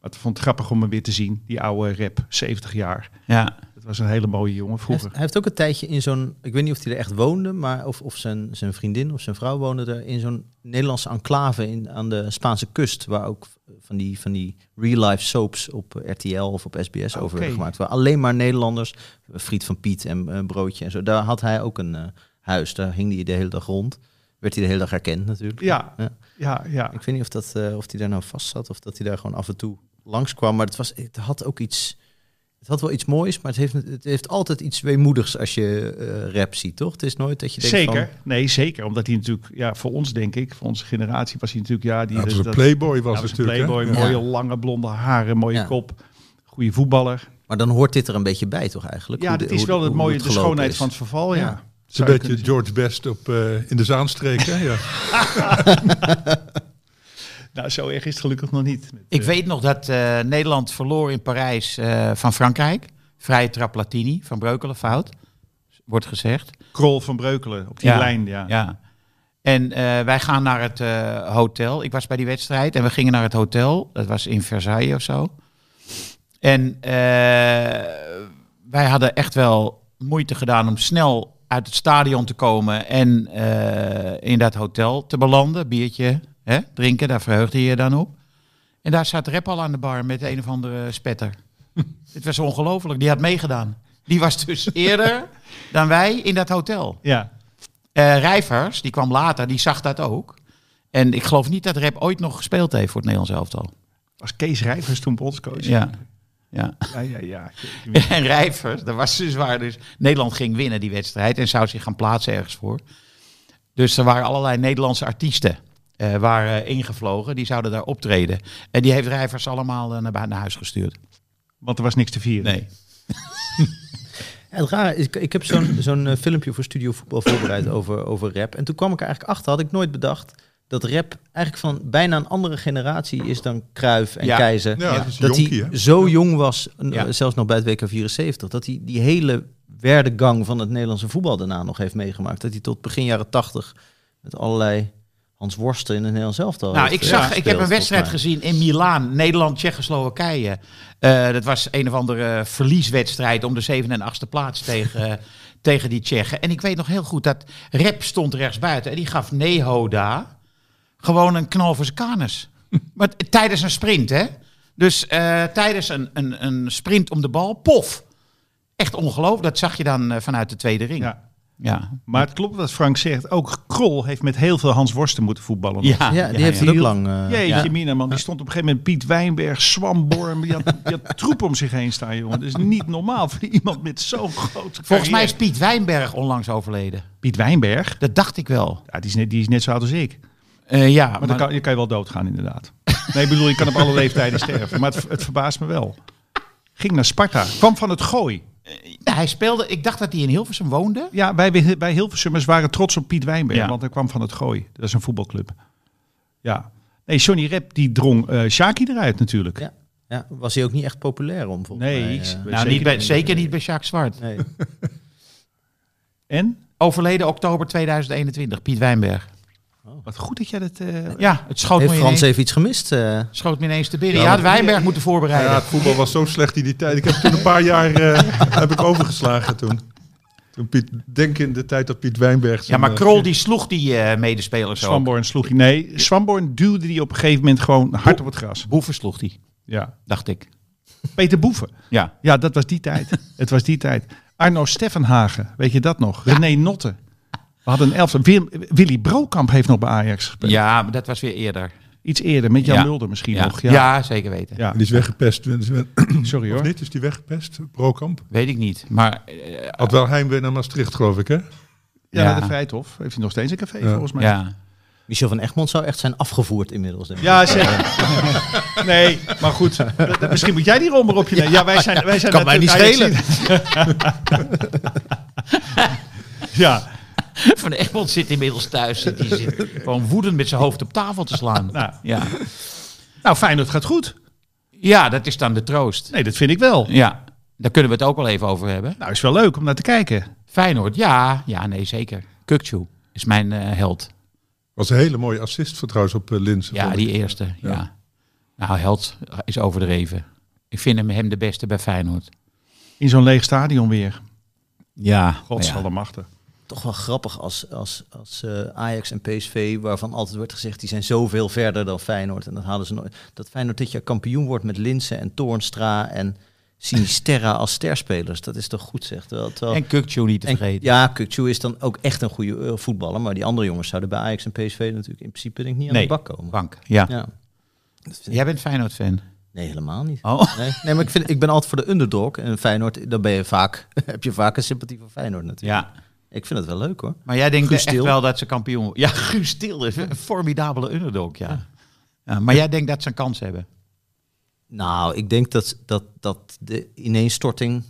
Speaker 4: het vond het grappig om hem weer te zien. Die oude rap, 70 jaar.
Speaker 3: Ja.
Speaker 4: Dat Dat was een hele mooie jongen
Speaker 5: Hij heeft,
Speaker 4: vroeger.
Speaker 5: hij heeft ook een tijdje in zo'n, ik weet niet of hij er echt woonde, maar of, of zijn, zijn vriendin of zijn vrouw woonde er in zo'n Nederlandse enclave in, aan de Spaanse kust, waar ook van die, van die real-life soaps op eh, RTL of op SBS over werden
Speaker 4: Oké.
Speaker 5: gemaakt. Waar alleen maar Nederlanders, eh, Friet van Piet en eh, Broodje en zo, daar had hij ook een eh, huis. Daar hing hij de hele dag rond. Werd hij de hele dag herkend natuurlijk.
Speaker 4: Ja,
Speaker 5: Ja.
Speaker 4: ja, ja.
Speaker 5: Ik weet niet of, dat, eh, of hij daar nou vast zat of dat hij daar gewoon af en toe langskwam. Maar het, was, het had ook iets. Het had wel iets moois, maar het heeft, het heeft altijd iets weemoedigs als je eh, rap ziet, toch? Het is nooit dat je denkt
Speaker 4: Zeker.
Speaker 5: van...
Speaker 4: Nee, zeker. Omdat hij natuurlijk, ja, voor ons denk ik, voor onze generatie was hij natuurlijk, ja, die
Speaker 1: Ja, het was een
Speaker 4: dat-
Speaker 1: playboy was
Speaker 4: ja, was een
Speaker 1: natuurlijk. hè?
Speaker 4: playboy,
Speaker 5: Ja.
Speaker 4: mooie lange blonde haren, mooie
Speaker 5: Ja.
Speaker 4: kop, goede voetballer.
Speaker 5: Maar dan hoort dit er een beetje bij, toch eigenlijk?
Speaker 4: Ja,
Speaker 5: Hoe de-
Speaker 4: dat is
Speaker 5: hoe de-
Speaker 4: wel het
Speaker 5: hoe
Speaker 4: mooie, de
Speaker 5: gelopen
Speaker 4: schoonheid
Speaker 5: is.
Speaker 4: van het verval, ja.
Speaker 5: Ja.
Speaker 4: Zou
Speaker 1: Het is een
Speaker 4: je
Speaker 1: beetje
Speaker 4: kunnen
Speaker 1: George
Speaker 4: zeggen.
Speaker 1: Best op, eh, in de Zaanstreek. Hè? Ja.
Speaker 4: Nou, zo erg is het gelukkig nog niet. Met,
Speaker 3: Ik
Speaker 4: eh,
Speaker 3: weet nog dat eh, Nederland verloor in Parijs eh, van Frankrijk. Vrije trap Latini van Breukelen, fout. Wordt gezegd.
Speaker 4: Krol van Breukelen op die
Speaker 3: Ja.
Speaker 4: lijn, ja.
Speaker 3: Ja. En eh, wij gaan naar het eh, hotel. Ik was bij die wedstrijd en we gingen naar het hotel. Dat was in Versailles of zo. En eh, wij hadden echt wel moeite gedaan om snel uit het stadion te komen en eh, in dat hotel te belanden. Biertje hè, drinken, daar verheugde je je dan op. En daar zat Rep al aan de bar met een of andere spetter. Het was ongelooflijk, die had meegedaan. Die was dus eerder dan wij in dat hotel.
Speaker 4: Ja.
Speaker 3: Eh, Rijvers, die kwam later, die zag dat ook. En ik geloof niet dat Rep ooit nog gespeeld heeft voor het Nederlands elftal.
Speaker 4: Was Kees Rijvers toen bondscoach?
Speaker 3: Ja. Ja.
Speaker 4: Ja, ja, ja. Ik weet-
Speaker 3: En Rijvers, dat was dus waar. Dus Nederland ging winnen die wedstrijd en zou zich gaan plaatsen ergens voor. Dus er waren allerlei Nederlandse artiesten eh, waren ingevlogen. Die zouden daar optreden. En die heeft Rijvers allemaal eh, naar, bui- naar huis gestuurd.
Speaker 4: Want er was niks te vieren.
Speaker 3: Nee.
Speaker 5: Ja, het rare is, ik, ik heb zo'n zo'n, eh, filmpje voor Studio Voetbal voorbereid over, over rap. En toen kwam ik er eigenlijk achter, had ik nooit bedacht... dat rap eigenlijk van bijna een andere generatie is dan Kruif en
Speaker 3: Ja.
Speaker 5: Keizer.
Speaker 1: Ja, dat is een
Speaker 5: dat
Speaker 1: jonkie, hè?
Speaker 5: hij zo jong was, n- eh,
Speaker 3: Ja.
Speaker 5: zelfs nog bij het WK 74, dat hij die hele werdegang van het Nederlandse voetbal daarna nog heeft meegemaakt. Dat hij tot begin jaren 80 met allerlei Hans Worsten in het Nederlands elftal
Speaker 3: Nou,
Speaker 5: heeft,
Speaker 3: ik,
Speaker 5: eh,
Speaker 3: zag, ik
Speaker 5: gespeeld,
Speaker 3: heb een wedstrijd
Speaker 5: volgens
Speaker 3: gezien in Milaan, Nederland, Tsjechoslowakije. Eh, dat was een of andere verlieswedstrijd om de 7 en 8e plaats tegen, eh, tegen die Tsjechen. En ik weet nog heel goed dat Rep stond rechtsbuiten en die gaf Nehoda gewoon een knal voor zijn kanus. maar t- tijdens een sprint, hè? Dus eh, tijdens een, een, een sprint om de bal, pof. Echt ongelooflijk, dat zag je dan eh, vanuit de tweede ring. Ja.
Speaker 4: Ja.
Speaker 3: Ja.
Speaker 4: Maar het klopt wat Frank zegt. Ook Krol heeft met heel veel Hans Worsten moeten voetballen.
Speaker 5: mij. Ja, die heeft
Speaker 3: ja.
Speaker 5: het ook lang... eh,
Speaker 4: Jeetje,
Speaker 3: Ja.
Speaker 4: Mina, man. Die stond op een gegeven moment Piet Wijnberg, Swamborm. Die had, die had troep om zich heen staan, jongen. Dat is niet normaal voor iemand met zo'n groot
Speaker 3: Volgens mij is Piet Wijnberg onlangs overleden.
Speaker 4: Piet Wijnberg...
Speaker 3: Dat dacht ik wel.
Speaker 4: Ja, die, is net, die is net zo oud als ik. Maar,
Speaker 3: Eh, ja, maar,
Speaker 4: dan kan, je kan je wel doodgaan, inderdaad. Nee, ik bedoel, je kan op alle leeftijden sterven. Maar het, het verbaast me wel. Ging naar Sparta. Kwam van het gooi.
Speaker 3: Nou, hij speelde, ik dacht dat hij in Hilversum woonde.
Speaker 4: Ja, wij, wij Hilversummers waren trots op Piet Wijnberg.
Speaker 3: Ja.
Speaker 4: Want hij kwam van het gooi. Dat is een voetbalclub. Ja. Nee, Johnny Rep die drong eh Shaki eruit natuurlijk.
Speaker 5: Ja. Ja, was hij ook niet echt populair om volgens
Speaker 4: Nee,
Speaker 5: mij. eh.
Speaker 4: ik-
Speaker 3: Nou, zeker niet bij, zeker niet bij Jacques Zwart.
Speaker 5: nee.
Speaker 4: En?
Speaker 3: Overleden oktober 2021, Piet Wijnberg.
Speaker 4: Wat goed dat jij dat... eh,
Speaker 3: Ja, het schoot,
Speaker 5: Heeft
Speaker 3: me
Speaker 5: Frans
Speaker 3: ineens,
Speaker 5: even iets gemist? eh?
Speaker 3: schoot me ineens te binnen.
Speaker 1: Ja,
Speaker 3: Ja, had
Speaker 1: maar-
Speaker 3: Wijnberg moeten voorbereiden.
Speaker 1: Ja, het voetbal was zo slecht in die tijd. Ik heb toen een paar jaar eh, heb ik overgeslagen toen. toen Piet, denk in de tijd dat Piet Wijnberg...
Speaker 3: Ja,
Speaker 1: zijn,
Speaker 3: maar
Speaker 1: eh,
Speaker 3: Krol die sloeg die eh medespelers ook.
Speaker 4: Swamborn sloeg hij. Nee, Swamborn duwde die op een gegeven moment gewoon hard op het gras.
Speaker 3: Boeven sloeg die,
Speaker 4: Ja.
Speaker 3: dacht ik.
Speaker 4: Peter Boeven.
Speaker 3: Ja.
Speaker 4: Ja, dat was die tijd. het was die tijd. Arno Steffenhagen, weet je dat nog? René Notte. We hadden een elftal. Wil- Willy Brokamp heeft nog bij Ajax gespeeld.
Speaker 3: Ja, maar dat was weer eerder.
Speaker 4: Iets eerder, met Jan
Speaker 3: Ja.
Speaker 4: Mulder misschien
Speaker 3: Ja,
Speaker 4: nog. Ja.
Speaker 3: Ja, zeker weten.
Speaker 4: Ja.
Speaker 1: Die is weggepest. Of
Speaker 4: Sorry hoor.
Speaker 1: niet, is die weggepest? Brokamp.
Speaker 3: Weet ik niet. Maar eh,
Speaker 1: Had wel heimwee naar Maastricht, geloof ik, hè?
Speaker 4: Ja,
Speaker 3: Ja.
Speaker 4: naar de Vrijthof. Heeft hij nog steeds een café
Speaker 1: Ja.
Speaker 4: volgens mij?
Speaker 3: ja.
Speaker 5: Michel van Egmond zou echt zijn afgevoerd inmiddels. Denk ik.
Speaker 4: Ja, zeker. Nee, maar goed. dat- dat- Misschien moet jij die rommel op je nemen. Ja, wij zijn, wij zijn
Speaker 5: Kan mij niet
Speaker 4: natuurlijk Ajax- ja,
Speaker 3: Van Egmond zit inmiddels thuis. Zit, die zit gewoon woedend met zijn hoofd op tafel te slaan.
Speaker 4: nou,
Speaker 3: Ja.
Speaker 4: nou Feyenoord gaat goed.
Speaker 3: ja, dat is dan de troost.
Speaker 4: Nee, dat vind ik wel.
Speaker 3: Ja, daar kunnen we het ook wel even over hebben.
Speaker 4: Nou, is wel leuk om naar te kijken.
Speaker 3: Feyenoord, ja. Ja, nee, zeker. Kukçu is mijn eh, held.
Speaker 1: Was een hele mooie assist voor trouwens op eh, Linse.
Speaker 3: Ja,
Speaker 1: vond ik.
Speaker 3: die eerste. Ja. Nou, held is overdreven. Ik vind hem, hem de beste bij Feyenoord.
Speaker 4: in zo'n leeg stadion weer.
Speaker 3: Ja,
Speaker 4: God
Speaker 3: ja.
Speaker 4: zal machten.
Speaker 5: Toch wel grappig als, als, als eh, Ajax en PSV, waarvan altijd werd gezegd, die zijn zoveel verder dan Feyenoord. En dat halen ze nooit. Dat Feyenoord dit jaar kampioen wordt met Linsen en Toornstra en Sinisterra als sterspelers. Dat is toch goed, zegt wel. Terwijl,
Speaker 3: En Kukcu niet te
Speaker 5: en-
Speaker 3: vergeten.
Speaker 5: ja, Kukçu is dan ook echt een goede eh, voetballer. Maar die andere jongens zouden bij Ajax en PSV natuurlijk in principe denk ik, niet aan
Speaker 3: Nee.
Speaker 5: de bak komen.
Speaker 3: Bank, ja.
Speaker 5: Ja. Dat vind ik-
Speaker 3: Jij bent Feyenoord-fan.
Speaker 5: Nee, helemaal niet.
Speaker 3: Oh.
Speaker 5: Nee, Ah. nee maar ik, vind, ik ben altijd voor de underdog. En Feyenoord, dan ben je vaak, heb je vaak een sympathie voor Feyenoord natuurlijk.
Speaker 3: Ja.
Speaker 5: Ik vind het wel leuk hoor.
Speaker 3: Maar jij denkt
Speaker 5: Guus
Speaker 3: echt
Speaker 5: Til.
Speaker 3: wel dat ze kampioen worden. Ja, Guus Til is een formidabele underdog, ja. Ja, maar jij denkt dat ze een kans hebben.
Speaker 5: Nou, ik denk dat, dat, dat de ineenstorting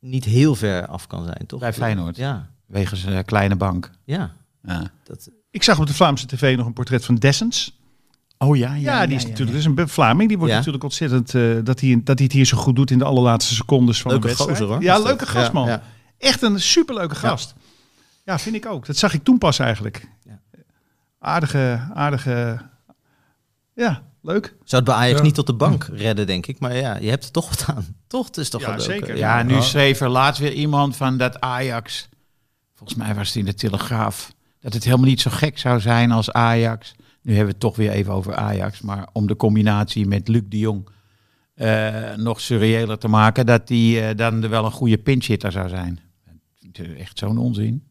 Speaker 5: niet heel ver af kan zijn, toch?
Speaker 3: Bij Feyenoord.
Speaker 5: Ja,
Speaker 3: Wegens een kleine bank.
Speaker 5: ja.
Speaker 3: Ja.
Speaker 5: Dat,
Speaker 4: Ik zag op de Vlaamse tv nog een portret van Dessens.
Speaker 3: Oh ja,
Speaker 4: Ja, die is natuurlijk dus een Be- Vlaming. Die wordt
Speaker 5: Ja.
Speaker 4: natuurlijk ontzettend eh, dat, hij, dat hij het hier zo goed doet in de allerlaatste secondes van
Speaker 5: leuke
Speaker 4: de wedstrijd.
Speaker 5: gozer hoor.
Speaker 4: Ja,
Speaker 5: Is dat-
Speaker 4: leuke gast man.
Speaker 5: Ja,
Speaker 4: Echt een superleuke
Speaker 5: Ja.
Speaker 4: gast. Ja. vind ik ook. Dat zag ik toen pas eigenlijk.
Speaker 5: Ja.
Speaker 4: Aardige, aardige. Ja, leuk.
Speaker 5: Zou het bij Ajax
Speaker 1: Ja.
Speaker 5: niet tot de bank redden, denk ik. Maar ja, je hebt het toch gedaan. Toch? Het is toch
Speaker 4: Ja,
Speaker 5: wel leuk,
Speaker 4: zeker.
Speaker 5: hè?
Speaker 3: Ja, nu schreef er laatst weer iemand van dat Ajax. Volgens mij was het in de Telegraaf. Dat het helemaal niet zo gek zou zijn als Ajax. Nu hebben we het toch weer even over Ajax. Maar om de combinatie met Luc de Jong eh, nog surreëler te maken. Dat die eh, dan er wel een goede pinchhitter zou zijn. Het is Echt zo'n onzin.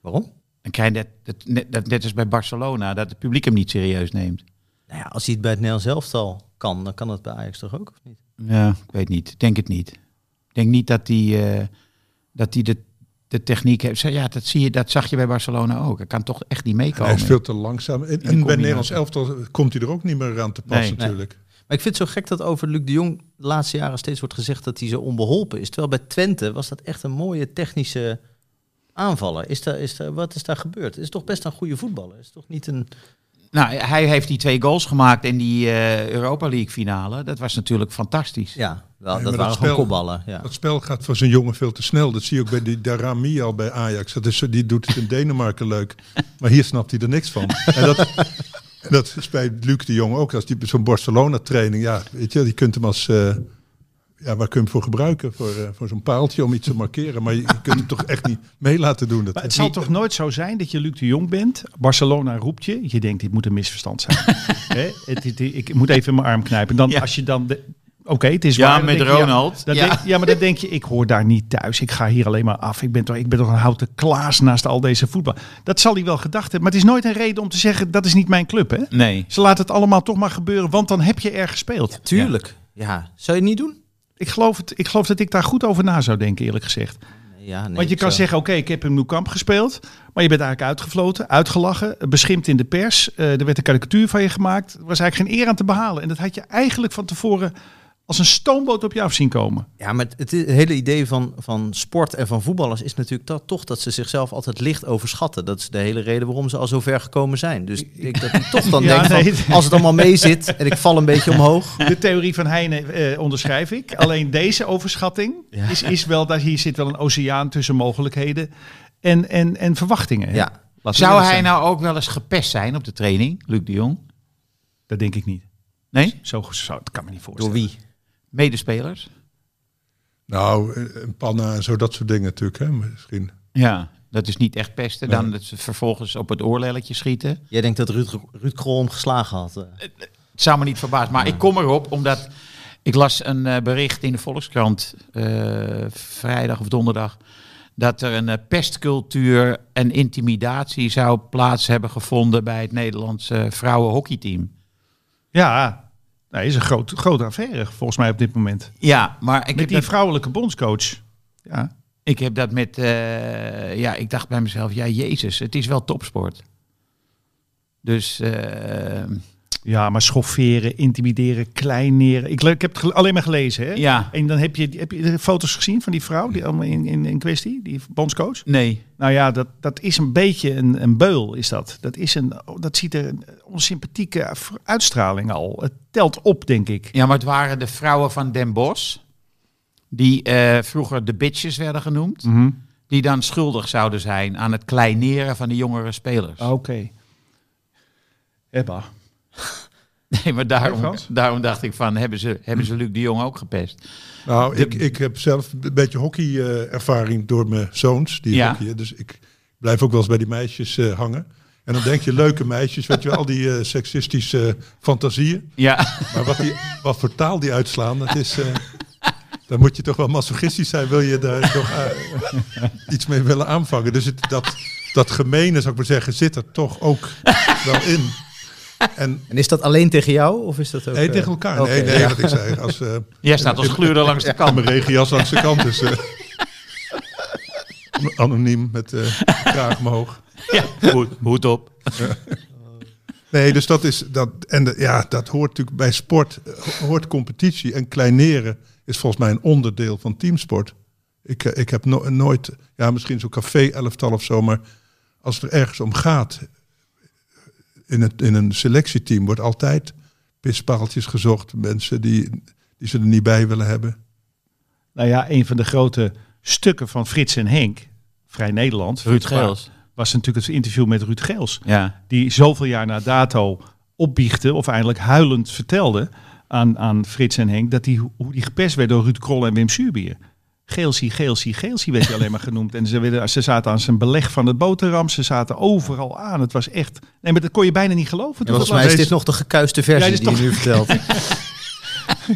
Speaker 5: Waarom?
Speaker 3: Dan krijg je dat, dat, net, dat net als bij Barcelona. Dat het publiek hem niet serieus neemt.
Speaker 5: Nou ja, als hij het bij het Nederlands elftal kan, dan kan dat bij Ajax toch ook, of niet?
Speaker 3: Ja, ik weet niet. Ik Denk het niet. Ik denk niet dat die, eh, dat die de, de techniek heeft. Ja, dat, zie je, dat zag je bij Barcelona ook. Hij kan toch echt niet
Speaker 1: Hij
Speaker 3: meekomen.
Speaker 1: is veel te langzaam. En, en bij
Speaker 3: combinatie.
Speaker 1: Nederlands elftal komt hij er ook niet meer aan te pas
Speaker 3: Nee.
Speaker 1: natuurlijk.
Speaker 5: Maar ik vind het zo gek dat over Luc de Jong de laatste jaren steeds wordt gezegd dat hij zo onbeholpen is. Terwijl bij Twente was dat echt een mooie technische aanvaller. Is daar, is daar, wat is daar gebeurd? Is toch best een goede voetballer? Is toch niet een...
Speaker 3: Nou, hij heeft die twee goals gemaakt in die eh, Europa League finale. Dat was natuurlijk fantastisch.
Speaker 5: Ja, wel,
Speaker 1: Nee, maar dat
Speaker 5: dat waren gewoon
Speaker 1: spel-
Speaker 5: kopballen. Ja.
Speaker 1: Dat spel gaat voor zijn jongen veel te snel. Dat zie je ook bij die Darami al bij Ajax. Dat is, zo- die doet het in Denemarken leuk. Maar hier snapt hij er niks van. En dat, en dat is bij Luc de Jong ook. Als die zo'n Barcelona training. Ja, weet je, die kunt hem als... eh, ja, waar kun je hem voor gebruiken? Voor, eh, voor zo'n paaltje om iets te markeren. Maar je, je kunt hem toch echt niet mee laten doen. Dat,
Speaker 4: Maar het zal toch nooit zo zijn dat je Luc de Jong bent. Barcelona roept je. Je denkt, dit moet een misverstand zijn. Hè? Het, het- ik moet even in mijn arm knijpen. Dan,
Speaker 3: Ja.
Speaker 4: Als je dan... de- Oké, het is
Speaker 3: Ja,
Speaker 4: waar. Dan
Speaker 3: met
Speaker 4: denk je,
Speaker 3: Ronald.
Speaker 4: Ja, dan
Speaker 3: Ja.
Speaker 4: denk- ja, maar dan denk je, ik hoor daar niet thuis. Ik ga hier alleen maar af. Ik ben toch, ik ben toch een houten klaas naast al deze voetbal. Dat zal hij wel gedacht hebben. Maar het is nooit een reden om te zeggen, dat is niet mijn club. Hè?
Speaker 3: Nee.
Speaker 4: Ze laten het allemaal toch maar gebeuren, want dan heb je er gespeeld.
Speaker 5: Tuurlijk. Ja. zou je het niet doen?
Speaker 4: Ik, geloof het, ik geloof dat ik daar goed over na zou denken, eerlijk gezegd.
Speaker 5: Nee, ja, nee,
Speaker 4: Want je
Speaker 5: ik
Speaker 4: kan
Speaker 5: zou-
Speaker 4: zeggen, oké, ik heb in Nieuwkamp gespeeld. Maar je bent eigenlijk uitgefloten, uitgelachen, beschimpt in de pers. eh, er werd een karikatuur van je gemaakt. Er was eigenlijk geen eer aan te behalen. En dat had je eigenlijk van tevoren als een stoomboot op je af zien komen.
Speaker 5: Ja, maar het, het is- het hele idee van, van sport en van voetballers is natuurlijk dat, toch dat ze zichzelf altijd licht overschatten. Dat is de hele reden waarom ze al zo ver gekomen zijn. Dus ik denk dat ik toch dan
Speaker 4: Ja,
Speaker 5: denk van,
Speaker 4: nee.
Speaker 5: als het allemaal mee zit en ik val een beetje omhoog.
Speaker 4: De theorie van Heine eh, onderschrijf ik. Alleen deze overschatting is, is wel, dat hier zit wel een oceaan tussen mogelijkheden en, en, en
Speaker 5: Ja,
Speaker 4: verwachtingen. Laten we
Speaker 3: Zou
Speaker 4: eerlijk
Speaker 3: hij
Speaker 4: zijn.
Speaker 3: nou ook wel eens gepest zijn op de training, Luc de Jong?
Speaker 4: Dat denk ik niet.
Speaker 3: Nee?
Speaker 4: Zo, zo dat kan me niet voorstellen.
Speaker 5: door wie?
Speaker 3: Medespelers?
Speaker 1: Nou, eh, een panna en zo, dat soort dingen natuurlijk. Hè, misschien.
Speaker 3: Ja. Dat is niet echt pesten.
Speaker 1: Nee.
Speaker 3: Dan dat ze vervolgens op het oorlelletje schieten.
Speaker 5: Jij denkt dat Ruud, Ruud Krol hem geslagen had. eh.
Speaker 3: Het zou me niet verbaasd, maar ik kom erop omdat ik las een eh, bericht in de Volkskrant eh, vrijdag of donderdag dat er een eh, pestcultuur en intimidatie zou plaats hebben gevonden bij het Nederlandse vrouwenhockeyteam.
Speaker 4: Ja, dat is een groot, grote affaire volgens mij op dit moment.
Speaker 3: Ja, maar ik
Speaker 4: Met
Speaker 3: heb,
Speaker 4: die
Speaker 3: dat,
Speaker 4: vrouwelijke bondscoach. Ja.
Speaker 3: ik heb dat met, eh, ja, ik dacht bij mezelf, ja, Jezus, het is wel topsport. Dus eh,
Speaker 4: ja, maar schofferen, intimideren, kleineren. Ik, le- ik heb het gel- alleen maar gelezen. Hè?
Speaker 3: ja,
Speaker 4: En dan heb je, heb je de foto's gezien van die vrouw die allemaal in, in, in kwestie, die bondscoach.
Speaker 3: nee,
Speaker 4: Nou ja, dat, dat is een beetje een, een beul, is dat. Dat, is een, oh, dat ziet er een onsympathieke v- uitstraling al. Het telt op, denk ik.
Speaker 3: Ja, maar het waren de vrouwen van Den Bosch. Die eh, vroeger de bitches werden genoemd. Die dan schuldig zouden zijn aan het
Speaker 4: Oh.
Speaker 3: kleineren van de jongere spelers.
Speaker 4: Oké. Ebba.
Speaker 3: Nee, maar
Speaker 4: Nee,
Speaker 3: daarom,
Speaker 4: Frans?
Speaker 3: daarom dacht ik van, hebben ze, hebben ze Luc de Jong ook gepest?
Speaker 1: Nou, ik, ik heb zelf een beetje hockeyervaring door mijn zoons. Die
Speaker 3: Ja.
Speaker 1: hockeyen, dus ik blijf ook wel eens bij die meisjes eh, hangen. En dan denk je, leuke meisjes, weet je wel, al die eh, seksistische eh, fantasieën.
Speaker 3: Ja,
Speaker 1: Maar wat, die, wat voor taal die uitslaan, dat is... eh, dan moet je toch wel masochistisch zijn, wil je daar toch eh, iets mee willen aanvangen. Dus het, dat, dat gemene, zou ik maar zeggen, zit er toch ook wel in. En
Speaker 5: En is dat alleen tegen jou? Of is dat ook...
Speaker 1: nee,
Speaker 5: eh,
Speaker 1: tegen elkaar.
Speaker 5: oké,
Speaker 1: Nee, nee,
Speaker 5: ja.
Speaker 1: wat ik zei. Als, eh,
Speaker 3: jij staat als gluurder langs de
Speaker 1: Kan
Speaker 3: kant.
Speaker 1: mijn regenjas langs de kant. Dus, eh, anoniem met eh kraag omhoog.
Speaker 3: Ja, hoed, hoed op.
Speaker 1: Nee, dus dat is dat. En de- ja, dat hoort natuurlijk bij sport. eh, Hoort competitie. En kleineren is volgens mij een onderdeel van teamsport. Ik, eh, ik heb no- nooit. Ja, misschien zo'n café-elftal of zo. Maar als het er ergens om gaat. eh, In, het, in een selectieteam wordt altijd pispaaltjes gezocht. Mensen die, die ze er niet bij willen hebben.
Speaker 4: Nou ja, een van de grote stukken van Frits en Henk, Vrij Nederland,
Speaker 3: Ruud Geels.
Speaker 4: was natuurlijk het interview met Ruud Geels.
Speaker 3: Ja,
Speaker 4: Die zoveel jaar na dato opbiechte, of eindelijk huilend vertelde aan, aan Frits en Henk, dat die, hoe die gepest werd door Ruud Krol en Wim Suurbier. Geelsie, Geelsie, Geelsie werd hij alleen maar genoemd. En ze, werden, ze zaten aan zijn beleg van het boterham. Ze zaten overal aan. Het was echt... Nee, maar dat kon je bijna niet geloven. toen
Speaker 5: Volgens
Speaker 4: dat
Speaker 5: mij is
Speaker 4: was.
Speaker 5: dit nog de gekuiste
Speaker 4: Ja,
Speaker 5: versie
Speaker 4: dit is
Speaker 5: die je nu vertelt.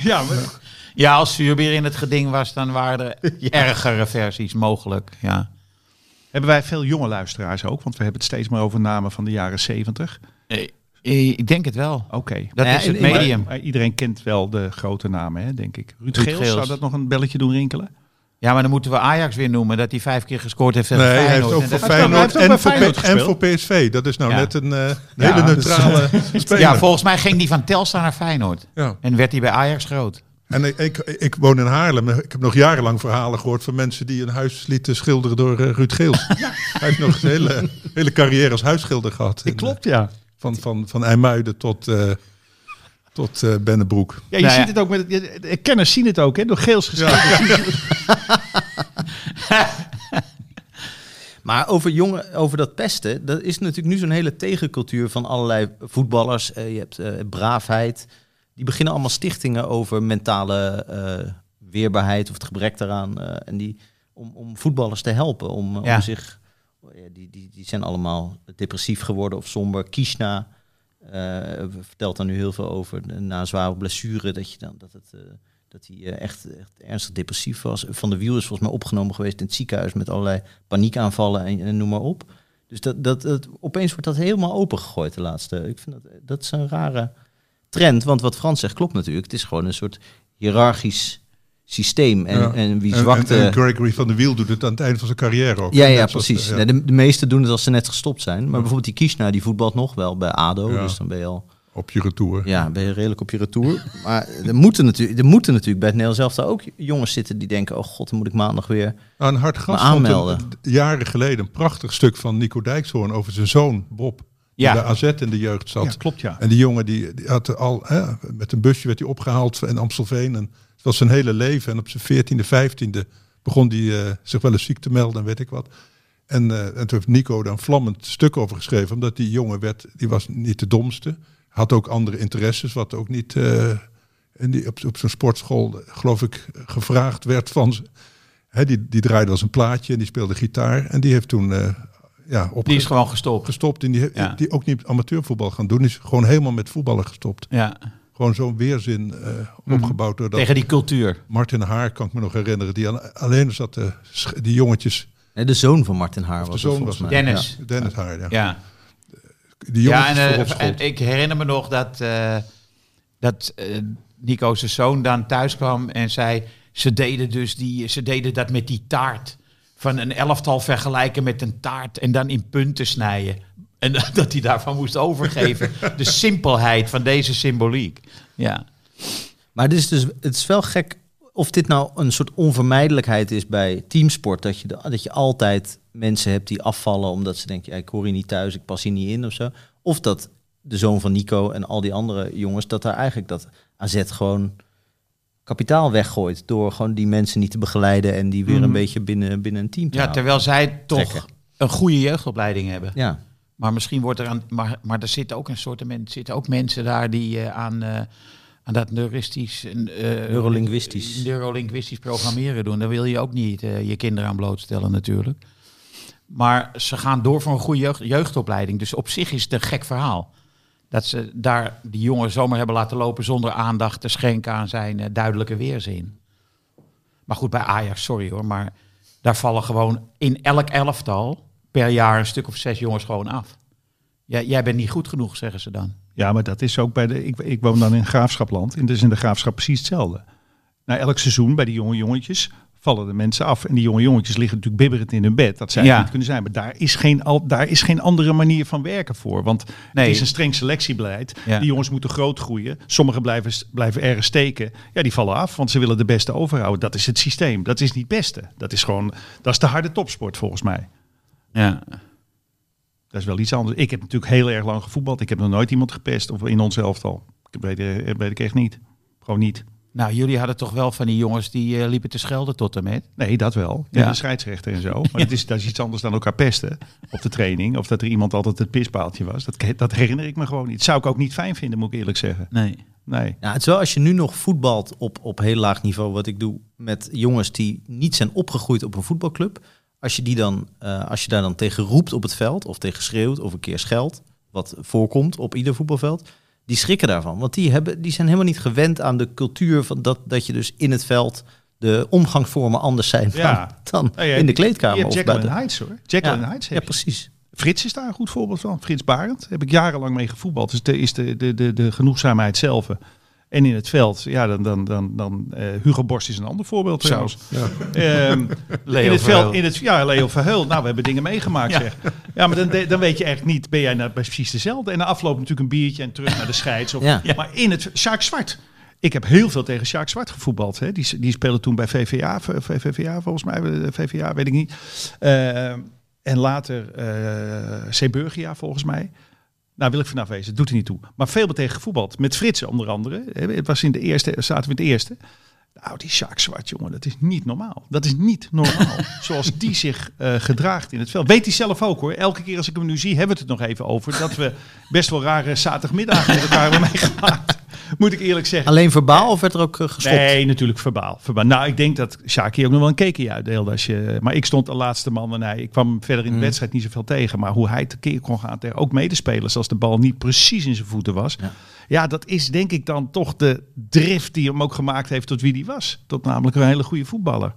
Speaker 4: Ja, maar
Speaker 3: ja als Zuurbier in het geding was, dan waren er ergere versies mogelijk. Ja,
Speaker 4: Hebben wij veel jonge luisteraars ook? Want we hebben het steeds maar over namen van de jaren zeventig.
Speaker 3: Eh, ik denk het wel.
Speaker 4: Oké.
Speaker 3: Dat
Speaker 5: Ja,
Speaker 3: is het
Speaker 5: en- en-
Speaker 3: medium.
Speaker 4: Maar iedereen kent wel de grote namen, hè, denk ik. Ruud,
Speaker 3: Ruud
Speaker 4: Geels,
Speaker 3: Geels.
Speaker 4: zou dat nog een belletje doen rinkelen?
Speaker 3: Ja, maar dan moeten we Ajax weer noemen, dat hij vijf keer gescoord heeft tegen
Speaker 1: Nee, hij heeft
Speaker 3: Feyenoord.
Speaker 1: ook
Speaker 3: En
Speaker 1: voor
Speaker 3: dat-
Speaker 4: Hij heeft
Speaker 1: Feyenoord,
Speaker 4: ook bij
Speaker 1: en, voor
Speaker 4: Feyenoord
Speaker 1: P- en voor PSV. Dat is nou
Speaker 3: Ja.
Speaker 1: net een eh, een
Speaker 4: Ja,
Speaker 1: hele
Speaker 4: dus-
Speaker 1: neutrale
Speaker 5: eh,
Speaker 1: speler.
Speaker 3: ja, volgens mij ging die van Telstar naar Feyenoord.
Speaker 1: Ja.
Speaker 3: En werd hij bij Ajax groot.
Speaker 1: En ik, ik, ik woon in Haarlem. Ik heb nog jarenlang verhalen gehoord van mensen die een huis lieten schilderen door eh, Ruud Geels. Hij heeft nog zijn hele, hele carrière als huisschilder gehad. En,
Speaker 4: ja.
Speaker 1: eh, van, van, van IJmuiden tot, eh tot eh, Bennebroek.
Speaker 4: ja je
Speaker 3: Nou ja.
Speaker 4: ziet het ook met... Het, de kenners zien het ook, hè? Door Geels geschreven.
Speaker 5: Maar over, jongen, over dat pesten, dat is natuurlijk nu zo'n hele tegencultuur van allerlei voetballers. Eh, je hebt eh, braafheid. Die beginnen allemaal stichtingen over mentale eh, weerbaarheid of het gebrek daaraan. eh, en die, om, om voetballers te helpen, om, eh,
Speaker 3: Ja.
Speaker 5: om zich... eh, ja, die, die, die zijn allemaal depressief geworden of somber. Kishna eh, vertelt daar nu heel veel over. Na een zware blessure, dat, je dan, dat, het, eh, dat hij eh, echt, echt ernstig depressief was. Van de Wiel is volgens mij opgenomen geweest in het ziekenhuis met allerlei paniekaanvallen en, en noem maar op. Dus dat, dat, dat, opeens wordt dat helemaal opengegooid de laatste. Ik vind dat, dat is een rare trend. Want wat Frans zegt klopt natuurlijk. Het is gewoon een soort hiërarchisch systeem. En,
Speaker 1: Ja.
Speaker 5: en wie
Speaker 1: En-
Speaker 5: zwakte...
Speaker 1: En, en Gregory van der Wiel doet het aan het einde van zijn carrière ook.
Speaker 5: Ja,
Speaker 1: Net
Speaker 5: ja
Speaker 1: zoals,
Speaker 5: precies.
Speaker 1: eh,
Speaker 5: Nee,
Speaker 1: ja,
Speaker 5: de, de meesten doen het als ze net gestopt zijn. Maar bijvoorbeeld die Kishna, die voetbalt nog wel bij ADO.
Speaker 1: Ja.
Speaker 5: Dus dan ben je al
Speaker 1: op je retour.
Speaker 5: ja, ben je redelijk op je retour. maar er moeten, natuurlijk, er moeten natuurlijk bij het Nederlands zelf ook jongens zitten die denken... oh god, dan moet ik maandag weer...
Speaker 1: Aan hard gas
Speaker 5: Maar
Speaker 1: stond een-
Speaker 5: aanmelden.
Speaker 1: d- jaren geleden een prachtig stuk van Nico Dijkshoorn over zijn zoon Bob. Die
Speaker 3: Ja.
Speaker 1: bij AZ in de jeugd zat.
Speaker 4: Ja, klopt, ja.
Speaker 1: En die jongen die, die had al hè, met een busje werd hij opgehaald in Amstelveen. En het was zijn hele leven. En op zijn 14e, 15e begon hij eh, zich wel eens ziek te melden en weet ik wat. En, eh, en toen heeft Nico daar een vlammend stuk over geschreven. Omdat die jongen werd, die was niet de domste. Had ook andere interesses, wat ook niet eh, in die, op, op zo'n sportschool, eh, geloof ik, gevraagd werd van ze. Hè, die, die draaide als een plaatje en die speelde gitaar. En die heeft toen eh ja,
Speaker 3: Die is
Speaker 1: opgestopt.
Speaker 3: gewoon gestopt.
Speaker 1: Gestopt in die,
Speaker 3: Ja.
Speaker 1: die ook niet amateurvoetbal gaan doen. Die is gewoon helemaal met voetballen gestopt.
Speaker 3: Ja.
Speaker 1: Gewoon zo'n weerzin eh, opgebouwd door dat.
Speaker 3: Mhm. Tegen die cultuur.
Speaker 1: Martin Haar kan ik me nog herinneren. Die al- alleen zat de, sch- die jongetjes.
Speaker 5: Nee, de zoon van Martin Haar was
Speaker 1: zoon
Speaker 5: het volgens
Speaker 1: was
Speaker 5: mij.
Speaker 1: het.
Speaker 3: Dennis.
Speaker 1: Dennis Haar, ja.
Speaker 3: Ja,
Speaker 1: Die
Speaker 3: ja
Speaker 1: jongetjes
Speaker 3: en, eh,
Speaker 1: voorop schoot.
Speaker 3: en ik herinner me nog dat, eh, dat eh, Nico zijn zoon dan thuis kwam en zei... Ze deden, dus die, ze deden dat met die taart. Van een elftal vergelijken met een taart en dan in punten snijden. En dat hij daarvan moest overgeven. De simpelheid van deze symboliek. Ja,
Speaker 5: Maar dit is dus, het is wel gek of dit nou een soort onvermijdelijkheid is bij teamsport. Dat je, de- dat je altijd mensen hebt die afvallen omdat ze denken... Ja, ik hoor hier niet thuis, ik pas hier niet in of zo. Of dat de zoon van Nico en al die andere jongens... dat daar eigenlijk dat AZ gewoon kapitaal weggooit... door gewoon die mensen niet te begeleiden... en die weer een beetje binnen, binnen een team te
Speaker 3: ja
Speaker 5: houden.
Speaker 3: terwijl zij toch
Speaker 5: Trekken.
Speaker 3: een goede jeugdopleiding hebben.
Speaker 5: Ja,
Speaker 3: Maar misschien wordt er aan. Maar, maar er zitten ook een soort men- zitten ook mensen daar die eh, aan. eh, aan dat neuristisch, en, eh,
Speaker 5: Neurolinguistisch.
Speaker 3: neurolinguistisch programmeren doen. Daar wil je ook niet eh, je kinderen aan blootstellen natuurlijk. Maar ze gaan door voor een goede jeugd- jeugdopleiding. Dus op zich is het een gek verhaal. Dat ze daar die jongen zomaar hebben laten lopen zonder aandacht te schenken aan zijn eh, duidelijke weerzin. Maar goed, bij Ajax, sorry hoor, maar daar vallen gewoon in elk elftal per jaar een stuk of zes jongens gewoon af. Jij, jij bent niet goed genoeg, zeggen ze dan.
Speaker 4: Ja, maar dat is ook bij de. Ik, ik woon dan in Graafschapland. En dus in de Graafschap precies hetzelfde. Na elk seizoen bij die jonge jongetjes vallen de mensen af. En die jonge jongetjes liggen natuurlijk bibberend in hun bed. Dat zij
Speaker 3: Ja.
Speaker 4: het niet kunnen zijn. Maar daar is, geen, al, daar is geen andere manier van werken voor. Want
Speaker 3: Nee.
Speaker 4: het is een streng selectiebeleid.
Speaker 3: Ja.
Speaker 4: Die jongens moeten groot groeien. Sommigen blijven, s- blijven ergens steken. Ja, die vallen af, want ze willen de beste overhouden. Dat is het systeem. Dat is niet het beste. Dat is gewoon. Dat is de harde topsport volgens mij.
Speaker 3: Ja.
Speaker 4: Dat is wel iets anders. Ik heb natuurlijk heel erg lang gevoetbald. Ik heb nog nooit iemand gepest of in ons elftal. Ik weet, eh, weet ik echt niet. Gewoon niet.
Speaker 3: Nou, jullie hadden toch wel van die jongens die eh, liepen te schelden tot en met.
Speaker 4: Nee, dat wel.
Speaker 3: Ja.
Speaker 4: Ja. De scheidsrechter en zo. Maar dat, is, dat is iets anders dan elkaar pesten op de training. Of dat er iemand altijd het pispaaltje was. Dat, dat herinner ik me gewoon niet. Zou ik ook niet fijn vinden, moet ik eerlijk zeggen.
Speaker 3: Nee.
Speaker 4: Nee.
Speaker 5: Ja, Nou, het is wel als je nu nog voetbalt op, op heel laag niveau, wat ik doe met jongens die niet zijn opgegroeid op een voetbalclub. Als je, die dan, eh, als je daar dan tegen roept op het veld, of tegen schreeuwt, of een keer scheldt, wat voorkomt op ieder voetbalveld, die schrikken daarvan. Want die, hebben, die zijn helemaal niet gewend aan de cultuur van dat, dat je dus in het veld de omgangsvormen anders zijn dan,
Speaker 4: Ja.
Speaker 5: dan
Speaker 4: Nou ja,
Speaker 5: in de
Speaker 4: Je
Speaker 5: kleedkamer.
Speaker 4: hebt
Speaker 5: of
Speaker 4: Jacqueline
Speaker 5: buiten.
Speaker 4: Heights hoor. Jacqueline
Speaker 5: ja,
Speaker 4: Heights
Speaker 5: ja,
Speaker 4: heb je.
Speaker 5: precies.
Speaker 4: Frits is daar een goed voorbeeld van. Frits Barend. Heb ik jarenlang mee gevoetbald. Dus de, is de, de, de, de genoegzaamheid zelf. eh, En in het veld, ja, dan, dan, dan, dan eh, Hugo Borst is een ander voorbeeld
Speaker 3: Zo.
Speaker 4: trouwens. Ehm, in het
Speaker 3: Verheul.
Speaker 4: veld, in het, ja, Leo Verheul. Nou, we hebben dingen meegemaakt, zeg. Ja, maar dan, de- dan weet je echt niet, ben jij nou precies dezelfde? En na afloop natuurlijk een biertje en terug naar de scheids. Of,
Speaker 5: Ja.
Speaker 4: Maar in het, Sjaak Zwart. Ik heb heel veel tegen Sjaak Zwart gevoetbald. Hè. Die, die speelde toen bij VVA, v- VVVA volgens mij, eh, VVA, weet ik niet. Ehm, en later eh Seburgia, volgens mij. Nou, wil ik vanaf wezen. Doet er niet toe. Maar veel tegen gevoetbald. Met Fritsen onder andere. Hè, Het was in de eerste, zaten we in de eerste. Nou, die Sjaak Zwart, jongen, dat is niet normaal. Dat is niet normaal. Zoals die zich eh, gedraagt in het veld. Weet hij zelf ook hoor. Elke keer als ik hem nu zie, hebben we het het nog even over. Dat we best wel rare zaterdagmiddagen met elkaar hebben meegemaakt. Moet ik eerlijk zeggen.
Speaker 5: Alleen verbaal of werd er ook eh, geschopt?
Speaker 4: Nee, natuurlijk verbaal. verbaal. Nou, ik denk dat Sjaak hier ook nog wel een keekje uitdeelde. Als je, maar ik stond de laatste man en hij. Ik kwam verder in
Speaker 5: Mm.
Speaker 4: de wedstrijd niet zoveel tegen. Maar hoe hij tekeer kon gaan tegen ook medespelers als de bal niet precies in zijn voeten was. Ja. dat is denk ik dan toch de drift die hem ook gemaakt heeft tot wie die was. Tot namelijk een hele goede voetballer.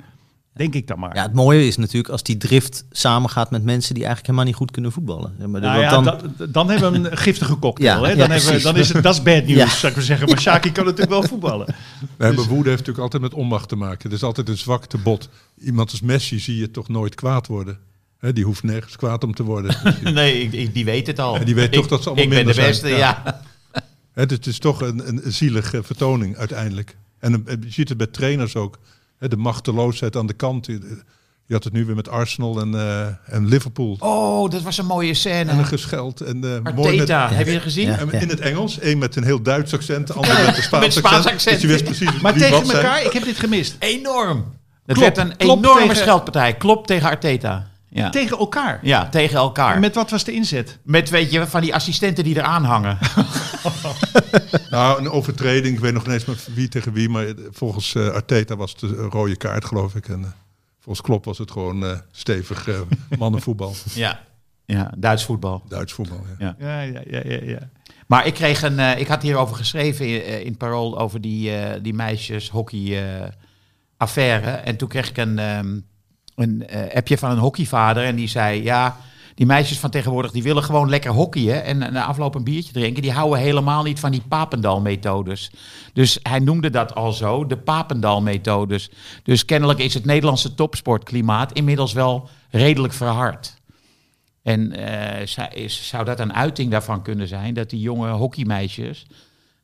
Speaker 4: Denk ik dan maar.
Speaker 5: Ja, het mooie is natuurlijk als die drift samengaat met mensen die eigenlijk helemaal niet goed kunnen voetballen. Ja, maar
Speaker 4: Nou
Speaker 5: want
Speaker 4: ja,
Speaker 5: dan,
Speaker 4: dan, dan, hebben we een giftige cocktail.
Speaker 5: Ja,
Speaker 4: hè?
Speaker 5: ja,
Speaker 4: Dan, hebben we,
Speaker 5: precies.
Speaker 4: dan is het, dat is bad news,
Speaker 5: Ja.
Speaker 4: zou ik maar zeggen. Maar Sjaak kan natuurlijk wel voetballen.
Speaker 1: Nee,
Speaker 3: Dus-
Speaker 1: maar woede heeft natuurlijk altijd met onmacht te maken. Het is altijd een zwakte bot. Iemand als Messi zie je toch nooit kwaad worden. Hè, die hoeft nergens kwaad om te worden.
Speaker 3: Nee, ik, ik- die weet het al.
Speaker 1: Ja, die weet toch
Speaker 3: Ik-
Speaker 1: dat ze allemaal
Speaker 3: Ik ben de
Speaker 1: minder
Speaker 3: beste,
Speaker 1: zijn.
Speaker 3: ja.
Speaker 1: Hè, dus het is toch een, een zielige vertoning uiteindelijk. En een- en je ziet het bij trainers ook. Hè, de machteloosheid aan de kant. Je je had het nu weer met Arsenal en, eh, en Liverpool.
Speaker 3: Oh, dat was een mooie
Speaker 1: En
Speaker 3: scène.
Speaker 1: een gescheld. En, eh, mooi met,
Speaker 3: Arteta, heb je het gezien?
Speaker 5: Ja.
Speaker 1: en in het Engels. Eén met een heel Duits accent. De ander met een Spaans,
Speaker 3: met Spaans accent.
Speaker 1: Dus je wist precies
Speaker 4: Maar
Speaker 1: wie
Speaker 4: tegen
Speaker 1: wat zei.
Speaker 4: elkaar, ik heb dit gemist.
Speaker 3: Enorm. Het
Speaker 4: Klopt,
Speaker 3: werd een
Speaker 4: klopt
Speaker 3: enorme
Speaker 4: tegen-
Speaker 3: scheldpartij. Klopt tegen Arteta. Ja,
Speaker 4: Tegen elkaar.
Speaker 3: ja tegen elkaar.
Speaker 4: En
Speaker 3: Met,
Speaker 4: Met wat was de inzet?
Speaker 3: weet je, van die assistenten die eraan hangen.
Speaker 1: Nou, een overtreding. Ik weet nog niet eens met wie tegen wie. Maar volgens eh, Arteta was het een rode kaart, geloof ik. En eh, volgens Klopp was het gewoon eh, stevig eh, mannenvoetbal.
Speaker 3: Ja. ja, Duits voetbal.
Speaker 1: Duits voetbal, ja.
Speaker 4: Ja, ja, ja, ja. ja.
Speaker 3: Maar ik kreeg een. eh, ik had hierover geschreven in, eh, in Parool over die, eh, die meisjes hockey eh, affaire. En toen kreeg ik een, ehm, een eh, appje van een hockeyvader. En die zei: Ja, die meisjes van tegenwoordig die willen gewoon lekker hockeyen. En eh, na afloop een biertje drinken. Die houden helemaal niet van die Papendal-methodes. Dus hij noemde dat al zo: de Papendal-methodes. Dus kennelijk is het Nederlandse topsportklimaat inmiddels wel redelijk verhard. En eh, zou- is, zou dat een uiting daarvan kunnen zijn dat die jonge hockeymeisjes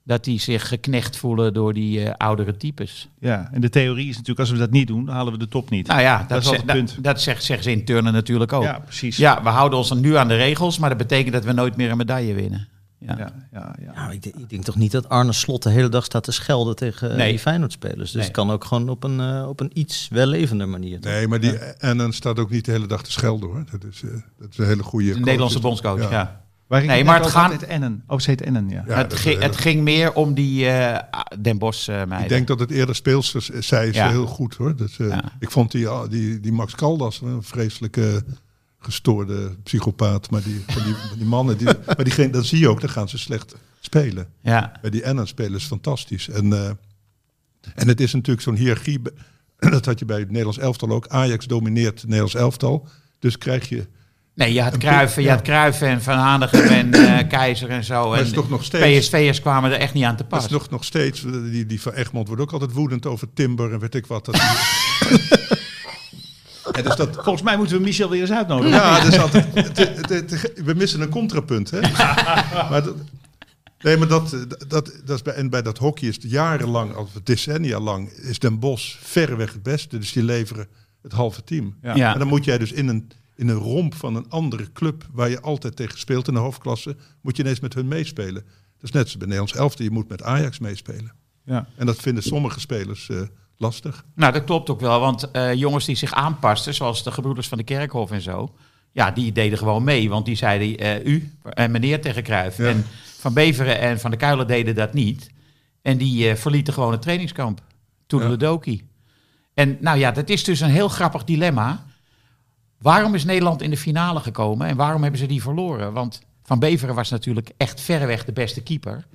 Speaker 3: dat die zich geknecht voelen door die eh, oudere types?
Speaker 4: Ja, en de theorie is natuurlijk, als we dat niet doen, dan halen we de top niet.
Speaker 3: Nou ja, dat,
Speaker 4: Dat is
Speaker 3: ze-
Speaker 4: altijd het
Speaker 3: da-
Speaker 4: punt.
Speaker 3: dat zegt, zeggen ze in turnen natuurlijk ook.
Speaker 4: ja,
Speaker 3: Ja,
Speaker 4: precies.
Speaker 3: we houden ons dan nu aan de regels, maar dat betekent dat we nooit meer een medaille winnen. Ja.
Speaker 4: ja, ja, ja.
Speaker 5: Nou, ik, denk- ik denk toch niet dat Arne Slot de hele dag staat te schelden tegen eh,
Speaker 3: Nee.
Speaker 5: die Feyenoord-spelers. Dus
Speaker 3: Nee.
Speaker 5: het kan ook gewoon op een, eh, op een iets wellevender manier. toch?
Speaker 1: Nee, maar die en dan staat ook niet de hele dag te schelden hoor. Dat is, eh, dat is een hele goede.
Speaker 3: De
Speaker 1: coach.
Speaker 3: Nederlandse bondscoach, ja.
Speaker 4: Waar ik
Speaker 3: Nee,
Speaker 4: net
Speaker 3: maar het
Speaker 4: over
Speaker 3: gaan-
Speaker 4: had, het Ennen. Oh, ze heet Ennen, ja.
Speaker 1: Ja,
Speaker 3: het,
Speaker 1: dat-
Speaker 3: ging,
Speaker 1: dat-
Speaker 3: het ging meer om die eh, Den Bosch eh meiden.
Speaker 1: Ik denk dat het eerder speelsters eh, zij is
Speaker 3: Ja.
Speaker 1: heel goed hoor. Dus, eh,
Speaker 3: Ja.
Speaker 1: Ik vond die, ah, die, die Max Caldas een vreselijke gestoorde psychopaat. Maar die, van die, van die mannen, die, maar diegene, dat zie je ook, dan gaan ze slecht spelen.
Speaker 3: Ja,
Speaker 1: Bij die Ennen spelen is fantastisch. En, eh, en het is natuurlijk zo'n hiërarchie. be- Dat had je bij het Nederlands elftal ook. Ajax domineert het Nederlands elftal. Dus krijg je.
Speaker 3: nee, je had
Speaker 1: Een
Speaker 3: Kruiven,
Speaker 1: ploeg,
Speaker 3: je
Speaker 1: ja.
Speaker 3: had Kruiven en Van Hanegem en eh, Keizer en zo.
Speaker 1: Maar
Speaker 3: en
Speaker 1: het is toch nog steeds.
Speaker 3: PSV'ers kwamen er echt niet aan te
Speaker 1: Dat is
Speaker 3: pas.
Speaker 1: nog, nog steeds. eh, Die, die van Egmond wordt ook altijd woedend over Timber en weet ik wat. Dat, Ja, dus dat,
Speaker 4: Volgens mij moeten we Michel weer eens uitnodigen.
Speaker 1: Ja, dus altijd, het- het- het- het- we missen een contrapunt. Hè? maar dat, nee, maar dat, dat, dat is bij, en bij dat hockey is het jarenlang, of decennia lang, is Den Bosch verreweg het beste. Dus die leveren het halve team.
Speaker 4: Ja.
Speaker 3: Ja.
Speaker 1: En dan moet jij dus in een, in een romp van een andere club, waar je altijd tegen speelt in de hoofdklasse, moet je ineens met hun meespelen. Dat is net zoals bij Nederlands elfte, je moet met Ajax meespelen.
Speaker 4: Ja.
Speaker 1: En dat vinden sommige spelers eh, lastig.
Speaker 3: Nou, dat klopt ook wel, want eh, jongens die zich aanpasten, zoals de gebroeders van de Kerkhof en zo, ja, die deden gewoon mee, want die zeiden eh, u en meneer tegen Kruif.
Speaker 1: Ja.
Speaker 3: En Van Beveren en Van de Kuilen deden dat niet. En die eh, verlieten gewoon het trainingskamp. Toen de Doki. En nou ja, dat is dus een heel grappig dilemma. Waarom is Nederland in de finale gekomen en waarom hebben ze die verloren? Want Van Beveren was natuurlijk echt verreweg de beste keeper.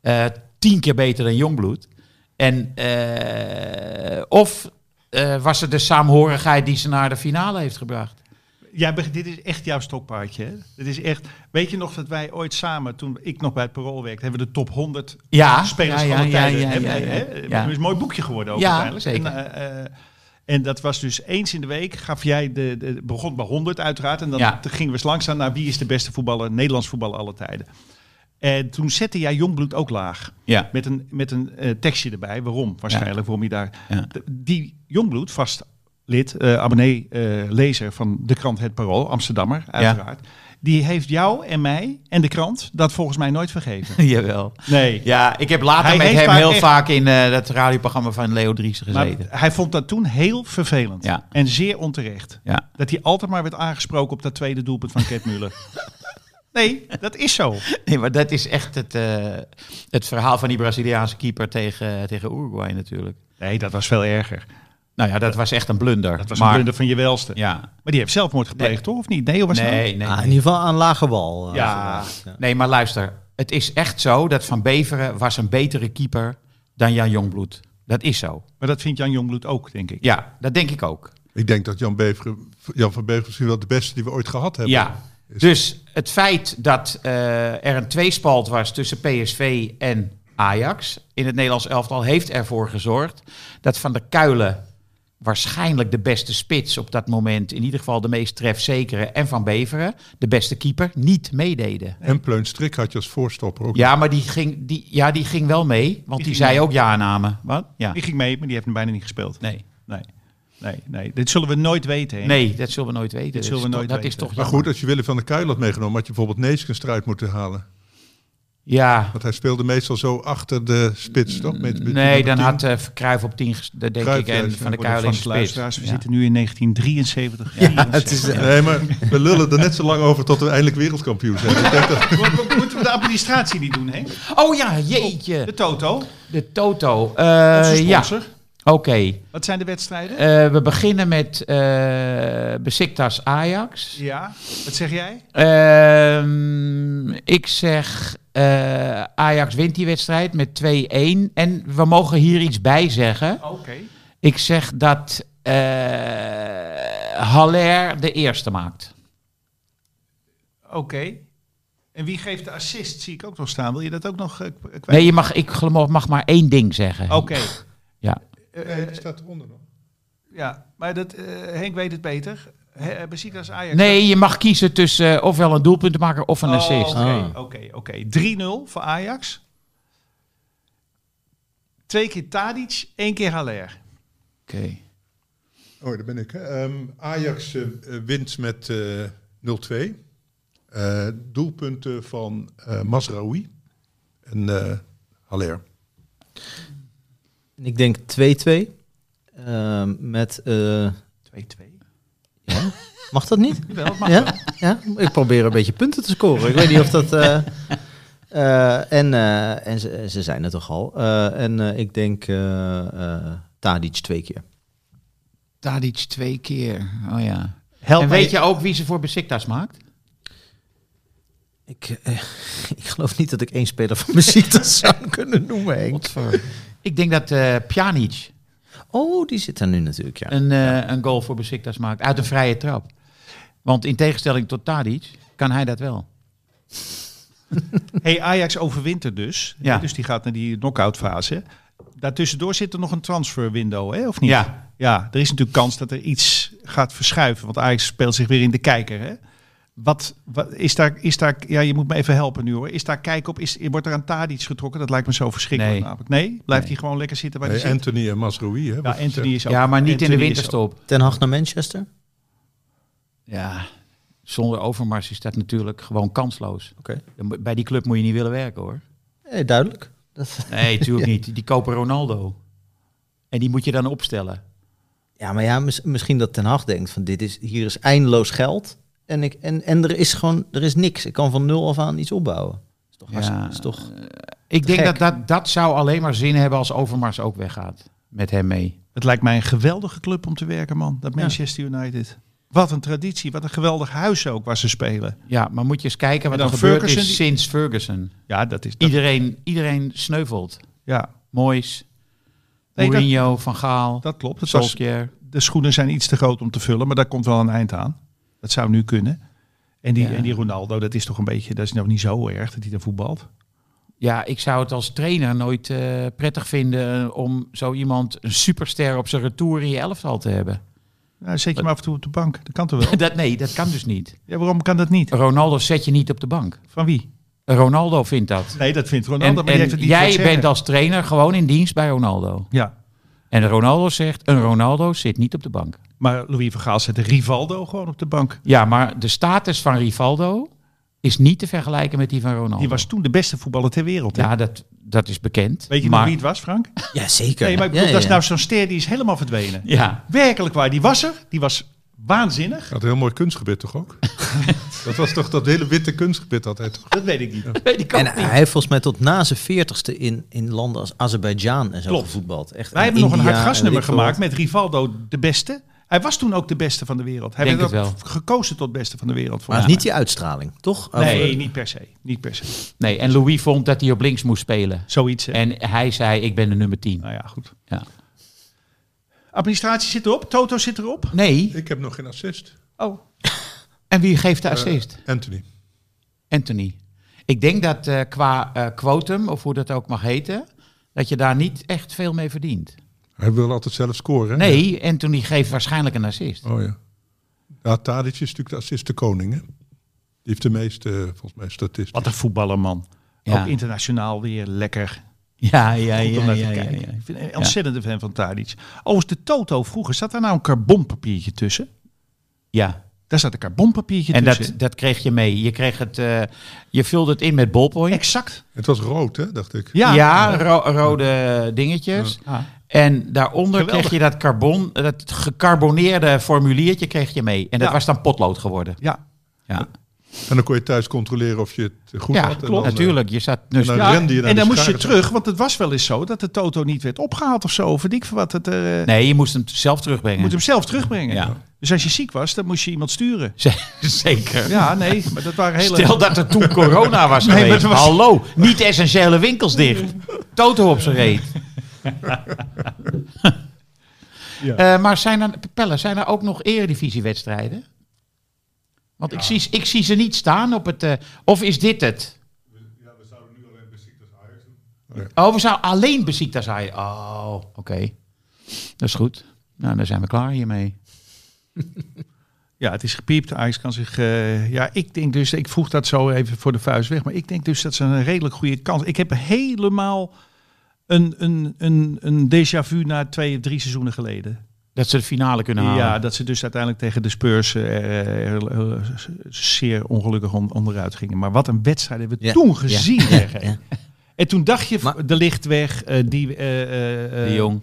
Speaker 3: Eh, tien keer beter dan Jongbloed. En, eh, of eh, was het de saamhorigheid die ze naar de finale heeft gebracht?
Speaker 4: Jij beg- dit is echt jouw stokpaardje. Hè? Dit is echt, weet je nog dat wij ooit samen, toen ik nog bij het Parool werkte, hebben we de top 100
Speaker 3: Ja,
Speaker 4: spelers
Speaker 3: ja, ja,
Speaker 4: van alle
Speaker 3: ja,
Speaker 4: tijden.
Speaker 3: ja,
Speaker 4: hebben,
Speaker 3: ja, ja.
Speaker 4: hè?
Speaker 3: Ja.
Speaker 4: Het is een mooi boekje geworden ook
Speaker 3: Ja,
Speaker 4: uiteindelijk.
Speaker 3: zeker.
Speaker 4: En, eh, eh, en dat was dus eens in de week gaf jij de, de begon bij 100 uiteraard en dan
Speaker 3: Ja.
Speaker 4: gingen we eens langzaam naar wie is de beste voetballer Nederlands voetballer alle tijden. En toen zette jij Jongbloed ook laag.
Speaker 3: Ja.
Speaker 4: Met een, met een eh, tekstje erbij. Waarom? Waarschijnlijk. Waarom je daar.
Speaker 3: Ja.
Speaker 4: D- Die Jongbloed, vast lid, eh, abonnee, eh, lezer van de krant Het Parool, Amsterdammer, uiteraard. Die heeft jou en mij en de krant dat volgens mij nooit vergeven.
Speaker 3: Jawel.
Speaker 4: Nee.
Speaker 3: Ja, ik heb later
Speaker 4: Hij
Speaker 3: met
Speaker 4: heeft
Speaker 3: hem
Speaker 4: vaak
Speaker 3: heel
Speaker 4: echt-
Speaker 3: vaak in eh dat radioprogramma van Leo Driessen
Speaker 4: Maar
Speaker 3: gezeten.
Speaker 4: hij vond dat toen heel vervelend.
Speaker 3: Ja.
Speaker 4: En zeer onterecht.
Speaker 3: ja.
Speaker 4: Dat hij altijd maar werd aangesproken op dat tweede doelpunt van Ket Müller. nee, dat is zo.
Speaker 3: Nee, maar dat is echt het, eh, het verhaal van die Braziliaanse keeper tegen, tegen Uruguay natuurlijk.
Speaker 4: Nee, dat was veel erger.
Speaker 3: Nou ja, dat was echt een blunder.
Speaker 4: Dat was
Speaker 3: maar,
Speaker 4: een blunder van je welste.
Speaker 3: Ja.
Speaker 4: Maar die heeft zelfmoord gepleegd,
Speaker 3: Nee.
Speaker 4: toch? Of niet? Nee, hoe was
Speaker 3: Nee,
Speaker 4: dat?
Speaker 3: nee, nee.
Speaker 5: Ah, in ieder geval aan lage bal. eh,
Speaker 4: Ja.
Speaker 5: als het ware.
Speaker 3: Nee, maar luister. Het is echt zo dat Van Beveren was een betere keeper dan Jan Jongbloed. Dat is zo.
Speaker 4: Maar dat vindt Jan Jongbloed ook, denk ik.
Speaker 3: Ja, dat denk ik ook.
Speaker 1: Ik denk dat Jan, Beveren, Jan van Beveren misschien wel de beste die we ooit gehad hebben.
Speaker 3: Ja. Dus het feit dat eh, er een tweespalt was tussen PSV en Ajax in het Nederlands elftal heeft ervoor gezorgd dat Van der Kuilen waarschijnlijk de beste spits op dat moment, in ieder geval de meest trefzekere, en Van Beveren, de beste keeper, niet meededen.
Speaker 1: En Pleun Strik had je als voorstopper ook.
Speaker 3: Ja, maar die ging, die, ja, die ging wel mee, want die,
Speaker 4: ging
Speaker 3: zei
Speaker 4: mee.
Speaker 3: ook ja-namen. Wat? Ja.
Speaker 4: Die ging mee, maar die heeft hem bijna niet gespeeld.
Speaker 3: Nee.
Speaker 4: Nee, nee, nee. Dit zullen we nooit weten. hè?
Speaker 3: nee, dat zullen we nooit weten.
Speaker 4: zullen we
Speaker 3: is
Speaker 4: nooit
Speaker 3: toch- dat is
Speaker 4: weten.
Speaker 3: toch
Speaker 1: Maar
Speaker 3: jammer.
Speaker 1: goed, als je Willem van der Kuil had meegenomen, had je bijvoorbeeld Neeskens eruit moeten halen.
Speaker 3: Ja,
Speaker 1: Want hij speelde meestal zo achter de spits, toch? Met, met
Speaker 3: nee,
Speaker 1: nummer
Speaker 3: dan
Speaker 1: 10.
Speaker 3: had eh Cruijff op 10, denk
Speaker 1: Cruijff
Speaker 3: ik, en
Speaker 1: juist,
Speaker 3: Van der
Speaker 1: ja,
Speaker 3: Kuilen in
Speaker 4: Van eh,
Speaker 3: de
Speaker 4: de
Speaker 3: spits.
Speaker 4: luisteraars, we
Speaker 3: Ja.
Speaker 4: zitten nu in 1973. 74.
Speaker 1: Nee, maar we lullen er net zo lang over tot we eindelijk wereldkampioen zijn. Ik denk dat-
Speaker 3: eh,
Speaker 4: Mo- mo- Moeten we de administratie niet doen, hè?
Speaker 3: Oh ja, jeetje.
Speaker 4: De Toto,
Speaker 3: De Toto. Eh,
Speaker 4: onze
Speaker 3: ja,
Speaker 4: sponsor.
Speaker 3: oké.
Speaker 4: Wat zijn de wedstrijden?
Speaker 3: Eh, we beginnen met eh Besiktas Ajax.
Speaker 4: Ja, wat zeg jij?
Speaker 3: Ehm, ik zeg eh, Ajax wint die wedstrijd met 2-1. En we mogen hier iets bij zeggen.
Speaker 4: Oké.
Speaker 3: Ik zeg dat eh Haller de eerste maakt.
Speaker 4: Oké. En wie geeft de assist? Zie ik ook nog staan. Wil je dat ook nog eh, k- kwijt?
Speaker 3: Nee, je mag, ik geloof- mag maar één ding zeggen.
Speaker 4: Oké.
Speaker 3: Ja.
Speaker 4: Eh,
Speaker 1: Nee,
Speaker 4: eh,
Speaker 1: die staat eronder nog.
Speaker 4: ja, maar dat, eh, Henk weet het beter. He, eh, Besiktas Ajax.
Speaker 3: Nee, je mag kiezen tussen eh, ofwel een doelpunt maken of een
Speaker 4: Oh,
Speaker 3: assist.
Speaker 4: Oké,
Speaker 5: Ah.
Speaker 4: oké, oké. 3-0 voor Ajax. Twee keer Tadic, één keer Haller.
Speaker 3: Oké.
Speaker 1: Oh, daar ben ik. hè. Ehm, Ajax eh, eh, wint met eh, 0-2. Eh, doelpunten van eh Masraoui en eh Haller.
Speaker 5: En Ik denk 2-2. Ehm, met... eh,
Speaker 4: 2-2.
Speaker 5: ja? Mag dat niet?
Speaker 4: Wel, mag
Speaker 5: ja? ja? Ik probeer een beetje punten te scoren. Ik weet niet of dat... eh, eh, en eh, en ze, ze zijn het toch al. Eh, en eh, ik denk eh, eh, Tadic twee keer.
Speaker 3: Tadic twee keer. Oh ja.
Speaker 4: Help
Speaker 3: en
Speaker 4: mij-
Speaker 3: weet je ook wie ze voor Besiktas maakt?
Speaker 5: Ik, eh, ik geloof niet dat ik één speler van mijn ziekte zou kunnen noemen, Henk.
Speaker 3: Godver. Ik denk dat eh, Pjanic
Speaker 5: Oh, die zit daar nu natuurlijk, ja.
Speaker 3: een, eh, een goal voor Besiktas maakt. Uit een vrije trap. Want in tegenstelling tot Tadic kan hij dat wel.
Speaker 4: Hey, Ajax overwintert dus.
Speaker 3: Ja.
Speaker 4: Dus die gaat naar die knock-out fase. Daartussendoor zit er nog een transferwindow, hè? of niet?
Speaker 3: Ja.
Speaker 4: ja, er is natuurlijk kans dat er iets gaat verschuiven. Want Ajax speelt zich weer in de kijker. Hè? Wat, wat is daar, is daar, ja, je moet me even helpen nu hoor. Is daar kijk op, is, wordt er aan Tadic getrokken? Dat lijkt me zo verschrikkelijk.
Speaker 3: Nee.
Speaker 4: Namelijk. nee? blijft
Speaker 3: Nee.
Speaker 4: hij gewoon lekker zitten waar
Speaker 1: Nee,
Speaker 4: hij zit?
Speaker 1: Anthony en Masraoui. Hè,
Speaker 4: Ja,
Speaker 1: wordt
Speaker 4: Anthony is ook.
Speaker 3: Ja, maar niet in de
Speaker 4: Anthony is ook.
Speaker 3: winterstop.
Speaker 5: Ten Hag naar Manchester?
Speaker 3: Ja, zonder Overmars is dat natuurlijk gewoon kansloos.
Speaker 5: Oké.
Speaker 3: Dan moet- Bij die club moet je niet willen werken hoor.
Speaker 5: Eh, duidelijk. Dat,
Speaker 3: Nee, natuurlijk niet. Die kopen Ronaldo. En die moet je dan opstellen.
Speaker 5: ja, maar ja, mis- misschien dat Ten Hag denkt van dit is, hier is eindeloos geld. En, ik, en, en er is gewoon, er is niks. Ik kan van nul af aan iets opbouwen. Is toch, hartstikke- is toch
Speaker 4: Eh.
Speaker 3: Ik denk
Speaker 5: Gek.
Speaker 3: dat, dat dat zou alleen maar zin hebben als Overmars ook weggaat. Met hem mee.
Speaker 4: Het lijkt mij een geweldige club om te werken, man. Dat
Speaker 5: Ja.
Speaker 4: Manchester United. Wat een traditie, wat een geweldig huis ook waar ze spelen.
Speaker 3: Ja, maar moet je eens kijken wat
Speaker 4: En
Speaker 3: er
Speaker 4: dan
Speaker 3: gebeurd
Speaker 4: Ferguson
Speaker 3: is
Speaker 4: die-
Speaker 3: sinds Ferguson.
Speaker 4: Ja, dat is. Dat,
Speaker 3: Iedereen, iedereen sneuvelt.
Speaker 4: ja,
Speaker 3: Moois,
Speaker 4: Nee, dat-
Speaker 3: Mourinho, Van Gaal,
Speaker 4: dat klopt. Het was,
Speaker 3: Solskjaer.
Speaker 4: de schoenen zijn iets te groot om te vullen, maar daar komt wel een eind aan. Dat zou nu kunnen. En die,
Speaker 3: Ja.
Speaker 4: en die Ronaldo, dat is toch een beetje, dat is nog niet zo erg dat hij dan voetbalt.
Speaker 3: Ja, ik zou het als trainer nooit eh, prettig vinden eh, om zo iemand, een superster, op zijn retour in je elftal te hebben.
Speaker 4: Nou, zet je maar af en toe op de bank. Dat kan toch wel?
Speaker 3: Dat, nee, dat kan dus niet.
Speaker 4: ja, waarom kan dat niet?
Speaker 3: Ronaldo zet je niet op de bank.
Speaker 4: Van wie?
Speaker 3: Ronaldo vindt dat.
Speaker 4: Nee, dat vindt Ronaldo,
Speaker 3: en
Speaker 4: maar die
Speaker 3: en
Speaker 4: heeft het niet voor
Speaker 3: jij
Speaker 4: het
Speaker 3: bent
Speaker 4: zeggen.
Speaker 3: als trainer gewoon in dienst bij Ronaldo.
Speaker 4: Ja,
Speaker 3: En Ronaldo zegt, een Ronaldo zit niet op de bank.
Speaker 4: maar Louis van Gaal zette Rivaldo gewoon op de bank.
Speaker 3: Ja, maar de status van Rivaldo is niet te vergelijken met die van Ronaldo.
Speaker 4: Die was toen de beste voetballer ter wereld. hè?
Speaker 3: Ja, dat, dat is bekend.
Speaker 4: Weet je nog
Speaker 3: maar,
Speaker 4: wie het was, Frank?
Speaker 5: ja, zeker.
Speaker 4: Nee, maar ik
Speaker 5: Ja,
Speaker 4: bedoel, dat is
Speaker 5: ja.
Speaker 4: nou zo'n ster die is helemaal verdwenen.
Speaker 3: Ja,
Speaker 4: Werkelijk waar, die was er. Die was waanzinnig.
Speaker 1: Had een heel mooi kunstgebied toch ook? dat was toch dat hele witte kunstgebied had hij toch?
Speaker 4: Dat weet ik niet.
Speaker 3: dat weet ik ook
Speaker 5: En
Speaker 3: niet.
Speaker 5: hij heeft volgens mij tot na zijn veertigste in, in landen als Azerbeidzjan en zo
Speaker 4: Klopt.
Speaker 5: gevoetbald. Echt,
Speaker 4: Wij
Speaker 5: en
Speaker 4: hebben nog een
Speaker 5: India
Speaker 4: hard gasnummer
Speaker 5: en weet ik
Speaker 4: gemaakt
Speaker 5: veel
Speaker 4: met Rivaldo de beste. Hij was toen ook de beste van de wereld. Hij
Speaker 3: Denk
Speaker 4: werd
Speaker 3: het
Speaker 4: ook gekozen tot beste van de wereld.
Speaker 5: wat. Maar het
Speaker 4: volgens
Speaker 5: is niet die uitstraling, toch? Oh,
Speaker 4: mij.
Speaker 5: Over-
Speaker 4: Nee, niet per se. Niet per se.
Speaker 3: Nee, en Louis vond dat hij op links moest spelen.
Speaker 4: Zoiets. Hè?
Speaker 3: En hij zei, ik ben de nummer 10.
Speaker 4: Nou ja, goed.
Speaker 3: Ja.
Speaker 4: Administratie zit erop. Toto zit erop.
Speaker 3: Nee,
Speaker 1: Ik heb nog geen assist.
Speaker 4: Oh.
Speaker 3: en wie geeft de assist?
Speaker 1: Eh, Anthony.
Speaker 3: Anthony. Ik denk dat eh, qua eh quotum, of hoe dat ook mag heten, dat je daar niet echt veel mee verdient.
Speaker 1: Hij wil altijd zelf scoren. hè?
Speaker 3: Nee, Anthony geeft waarschijnlijk een assist.
Speaker 1: Oh ja. Ja, Tadic is natuurlijk de assist de koning, hè? Die heeft de meeste, eh, volgens mij, statistisch.
Speaker 4: Wat een voetballer, man.
Speaker 3: Ja.
Speaker 4: Ook internationaal weer lekker.
Speaker 3: Ja, ja, ja.
Speaker 4: Goed om naar
Speaker 3: ja,
Speaker 4: te
Speaker 3: ja,
Speaker 4: kijken.
Speaker 3: ja.
Speaker 4: Ik vind een ontzettende fan van Tadic. Overigens, de Toto vroeger, zat daar nou een carbonpapiertje tussen?
Speaker 3: Ja,
Speaker 4: Daar zat een carbonpapiertje
Speaker 3: en
Speaker 4: tussen.
Speaker 3: dat, dat kreeg je mee. Je, kreeg het, eh, je vulde het in met ballpoint.
Speaker 4: Exact.
Speaker 1: Het was rood, hè, dacht ik.
Speaker 4: Ja. Ah,
Speaker 3: Ja, ro- rode dingetjes. En daaronder
Speaker 4: Geweldig.
Speaker 3: kreeg je dat carbon, dat gecarboneerde formuliertje kreeg je mee. En dat
Speaker 4: Ja.
Speaker 3: was dan potlood geworden.
Speaker 4: Ja.
Speaker 3: Ja,
Speaker 1: En dan kon je thuis controleren of je het goed had.
Speaker 3: ja
Speaker 1: en
Speaker 3: klopt.
Speaker 1: dan, eh,
Speaker 3: Natuurlijk, je zat dus
Speaker 1: en dan
Speaker 4: Ja,
Speaker 1: rende je naar
Speaker 4: en
Speaker 1: de
Speaker 4: dan moest je
Speaker 1: scharen.
Speaker 4: terug, want het was wel eens zo dat de Toto niet werd opgehaald of zo. Of weet ik veel wat. Het, eh,
Speaker 3: Nee, je moest hem zelf
Speaker 4: Je
Speaker 3: terugbrengen.
Speaker 4: moet hem zelf terugbrengen.
Speaker 3: Ja.
Speaker 4: Dus als je ziek was, dan moest je iemand sturen.
Speaker 3: Zeker.
Speaker 4: Ja, nee, maar dat waren hele...
Speaker 3: Stel dat er toen corona was
Speaker 4: maar
Speaker 3: geweest.
Speaker 4: het was-
Speaker 3: Hallo, niet essentiële winkels dicht. Toto op zijn reet. Eh, maar zijn er, Pelle, zijn er ook nog eredivisiewedstrijden? Want ik, zie, ik zie ze niet staan op het... eh, of is dit het? Ja, Oh, we zouden nu alleen Besiktas Ajax doen. Oh, we zouden alleen Besiktas Ajax... Oh, oké. Dat is goed. Nou, dan zijn we klaar hiermee.
Speaker 4: Ja, het is gepiept. Ajax kan zich... eh, ja, ik denk dus... Ik vroeg dat zo even voor de vuist weg. Maar ik denk dus dat ze een redelijk goede kans... Ik heb helemaal een, een, een, een déjà vu na twee of drie seizoenen geleden.
Speaker 3: Dat ze de finale kunnen
Speaker 5: Nou.
Speaker 3: halen.
Speaker 4: Ja, dat ze dus uiteindelijk tegen de Spurs eh, heel- heel- zeer ongelukkig on- onderuit gingen. Maar wat een wedstrijd hebben we
Speaker 5: Ja.
Speaker 4: toen gezien. zeg, hè.
Speaker 5: ja.
Speaker 4: En toen dacht je,
Speaker 5: Maar-
Speaker 4: de licht weg, eh, die, eh, eh, eh,
Speaker 3: de Jong,